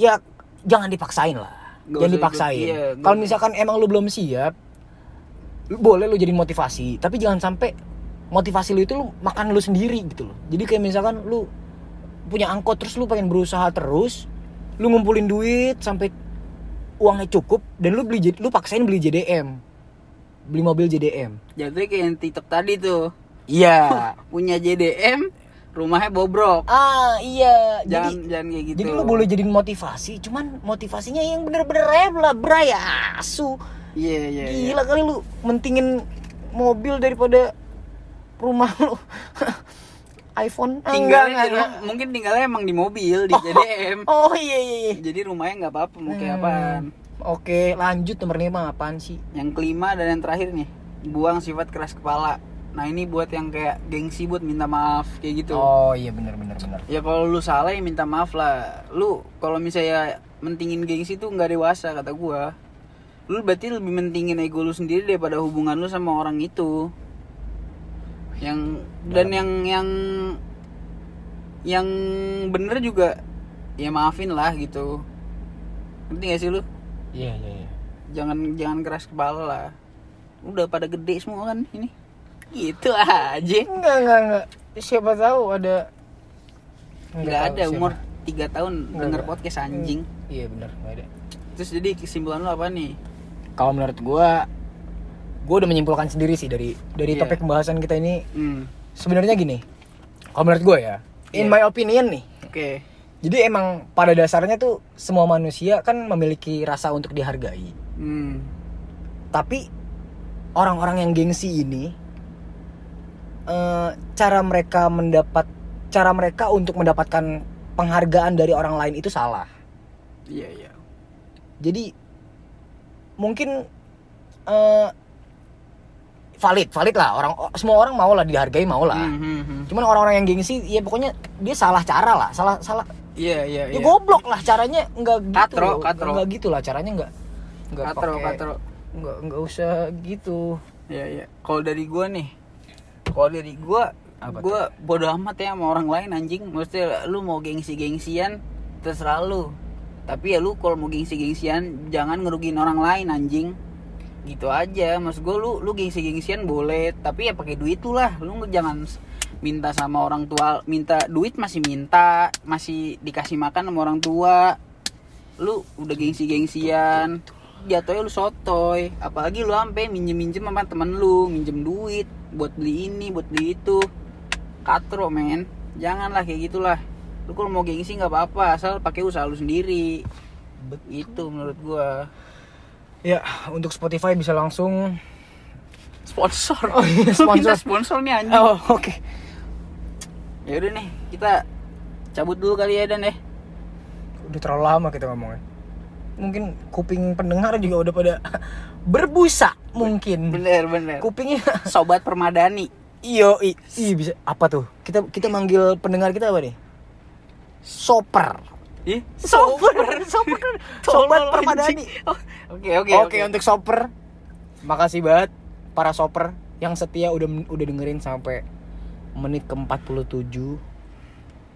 [SPEAKER 1] ya jangan dipaksain lah.
[SPEAKER 2] Nggak
[SPEAKER 1] jangan
[SPEAKER 2] usah
[SPEAKER 1] dipaksain.
[SPEAKER 2] ikut, iya, nggak
[SPEAKER 1] Kalau
[SPEAKER 2] usah.
[SPEAKER 1] misalkan emang lu belum siap, lu- boleh lu jadi motivasi, tapi jangan sampai motivasi lu itu lu makan lu sendiri gitu loh. Jadi kayak misalkan lu punya angkot terus lu pengen berusaha terus, lu ngumpulin duit sampai uangnya cukup dan lu beli J- lu paksain beli JDM. Beli mobil JDM.
[SPEAKER 2] jatuhnya kayak yang TikTok tadi tuh
[SPEAKER 1] Iya.
[SPEAKER 2] punya JDM rumahnya bobrok
[SPEAKER 1] ah, iya. Jadi
[SPEAKER 2] jangan jangan kayak gitu
[SPEAKER 1] Jadi lu boleh jadiin motivasi, cuman motivasinya yang bener-bener rem lah, bray, Ah, asu.
[SPEAKER 2] iya iya iya.
[SPEAKER 1] Gila kali lu mentingin mobil daripada rumah lu. [LAUGHS] iPhone Ah,
[SPEAKER 2] tinggalnya di rumah- mungkin tinggalnya emang di mobil di JDM
[SPEAKER 1] [LAUGHS] Oh iya iya iya.
[SPEAKER 2] jadi rumahnya nggak apa-apa mau kayak
[SPEAKER 1] Hmm.
[SPEAKER 2] apaan
[SPEAKER 1] Oke, lanjut nomor lima apaan sih?
[SPEAKER 2] Yang kelima dan yang terakhir nih, buang sifat keras kepala. Nah ini buat yang kayak gengsi buat minta maaf kayak gitu.
[SPEAKER 1] Oh iya benar benar benar.
[SPEAKER 2] Ya kalau lu salah ya minta maaf lah. Lu kalau misalnya mentingin gengsi tuh nggak dewasa kata gua. Lu berarti lebih mentingin ego lu sendiri daripada hubungan lu sama orang itu. Yang dan yang yang yang bener juga ya maafin lah gitu. Ngerti gak sih lu?
[SPEAKER 1] Iya iya iya.
[SPEAKER 2] jangan jangan keras kepala lah udah pada gede semua kan ini gitu aja
[SPEAKER 1] Enggak enggak enggak. Siapa tahu ada
[SPEAKER 2] nggak
[SPEAKER 1] tahu
[SPEAKER 2] ada
[SPEAKER 1] siapa.
[SPEAKER 2] umur tiga tahun
[SPEAKER 1] Nggak,
[SPEAKER 2] denger
[SPEAKER 1] nggak.
[SPEAKER 2] podcast anjing
[SPEAKER 1] Iya benar, enggak ada.
[SPEAKER 2] terus jadi kesimpulan lu apa nih
[SPEAKER 1] Kalau menurut gua gua udah menyimpulkan sendiri sih dari dari
[SPEAKER 2] Iya.
[SPEAKER 1] topik pembahasan kita ini
[SPEAKER 2] hmm.
[SPEAKER 1] sebenarnya gini. Kalau menurut gua ya, in
[SPEAKER 2] Iya.
[SPEAKER 1] my opinion nih.
[SPEAKER 2] oke
[SPEAKER 1] Jadi emang pada dasarnya tuh semua manusia kan memiliki rasa untuk dihargai.
[SPEAKER 2] hmm.
[SPEAKER 1] tapi orang-orang yang gengsi ini eh, cara mereka mendapat cara mereka untuk mendapatkan penghargaan dari orang lain itu salah
[SPEAKER 2] iya iya
[SPEAKER 1] jadi mungkin eh, valid valid lah orang o- semua orang mau lah dihargai mau lah
[SPEAKER 2] Hmm, hmm, hmm.
[SPEAKER 1] cuman orang-orang yang gengsi ya pokoknya dia salah cara lah salah salah
[SPEAKER 2] iya iya
[SPEAKER 1] ya
[SPEAKER 2] iya
[SPEAKER 1] goblok lah caranya nggak gitu
[SPEAKER 2] Katro,
[SPEAKER 1] loh.
[SPEAKER 2] katro.
[SPEAKER 1] nggak gitu lah caranya nggak nggak
[SPEAKER 2] katro
[SPEAKER 1] pakai-
[SPEAKER 2] katro
[SPEAKER 1] nggak nggak usah gitu
[SPEAKER 2] iya iya kalau dari gua nih kalau dari gua
[SPEAKER 1] Apa
[SPEAKER 2] gua bodo amat ya sama orang lain anjing maksudnya lu mau gengsi gengsian terserah lu tapi ya lu kalau mau gengsi gengsian jangan ngerugiin orang lain anjing gitu aja mas gue lu lu gengsi gengsian boleh tapi ya pakai duit lu lah lu nge- jangan s- minta sama orang tua minta duit masih minta masih dikasih makan sama orang tua lu udah gengsi gengsian jatuhnya lu sotoy apalagi lu sampai minjem minjem sama temen lu minjem duit buat beli ini buat beli itu katro men janganlah kayak gitulah lu kalau mau gengsi nggak apa-apa asal pakai usaha lu sendiri itu menurut gua
[SPEAKER 1] Ya, untuk Spotify bisa
[SPEAKER 2] [LAUGHS]
[SPEAKER 1] langsung
[SPEAKER 2] sponsor
[SPEAKER 1] Oh, iya,
[SPEAKER 2] Lu minta
[SPEAKER 1] sponsor.
[SPEAKER 2] sponsor nih anjing
[SPEAKER 1] Oh, oke.
[SPEAKER 2] ya udah nih kita cabut dulu kali ya dan ya
[SPEAKER 1] Udah terlalu lama kita ngomongnya. Mungkin kuping pendengar juga udah pada [LAUGHS] berbusa mungkin.
[SPEAKER 2] bener bener
[SPEAKER 1] Kupingnya [LAUGHS]
[SPEAKER 2] sobat permadani
[SPEAKER 1] iyo i, i bisa apa tuh? Kita kita manggil pendengar kita apa nih? Soper.
[SPEAKER 2] ih
[SPEAKER 1] Soper, soper. kan
[SPEAKER 2] [LAUGHS]
[SPEAKER 1] Sobat
[SPEAKER 2] tolol,
[SPEAKER 1] Permadani.
[SPEAKER 2] anjing. Oh, oke oke
[SPEAKER 1] Oke, untuk soper. Makasih banget para soper yang setia udah men- udah dengerin sampai menit ke-47.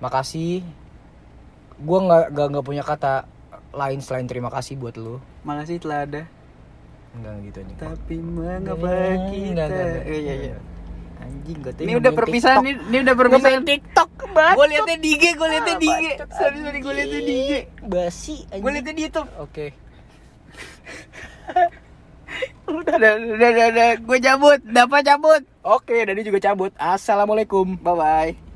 [SPEAKER 1] Makasih. Gua nggak nggak nggak punya kata lain selain terima kasih buat lu.
[SPEAKER 2] makasih telah ada
[SPEAKER 1] Enggak gitu aja.
[SPEAKER 2] tapi mengapa kita
[SPEAKER 1] Enggak, enggak, enggak.
[SPEAKER 2] iya iya iya
[SPEAKER 1] Anjing gak
[SPEAKER 2] ini udah perpisahan ini, ini udah perpisahan
[SPEAKER 1] TikTok banget.
[SPEAKER 2] gue liatnya di IG gue liatnya di IG
[SPEAKER 1] Bacot,
[SPEAKER 2] sorry sorry gue liatnya di IG
[SPEAKER 1] Basi anjing.
[SPEAKER 2] gue liatnya di YouTube
[SPEAKER 1] Oke.
[SPEAKER 2] udah udah udah udah, udah. gue cabut dapat cabut
[SPEAKER 1] Oke, Dani juga cabut. Assalamualaikum.
[SPEAKER 2] bye bye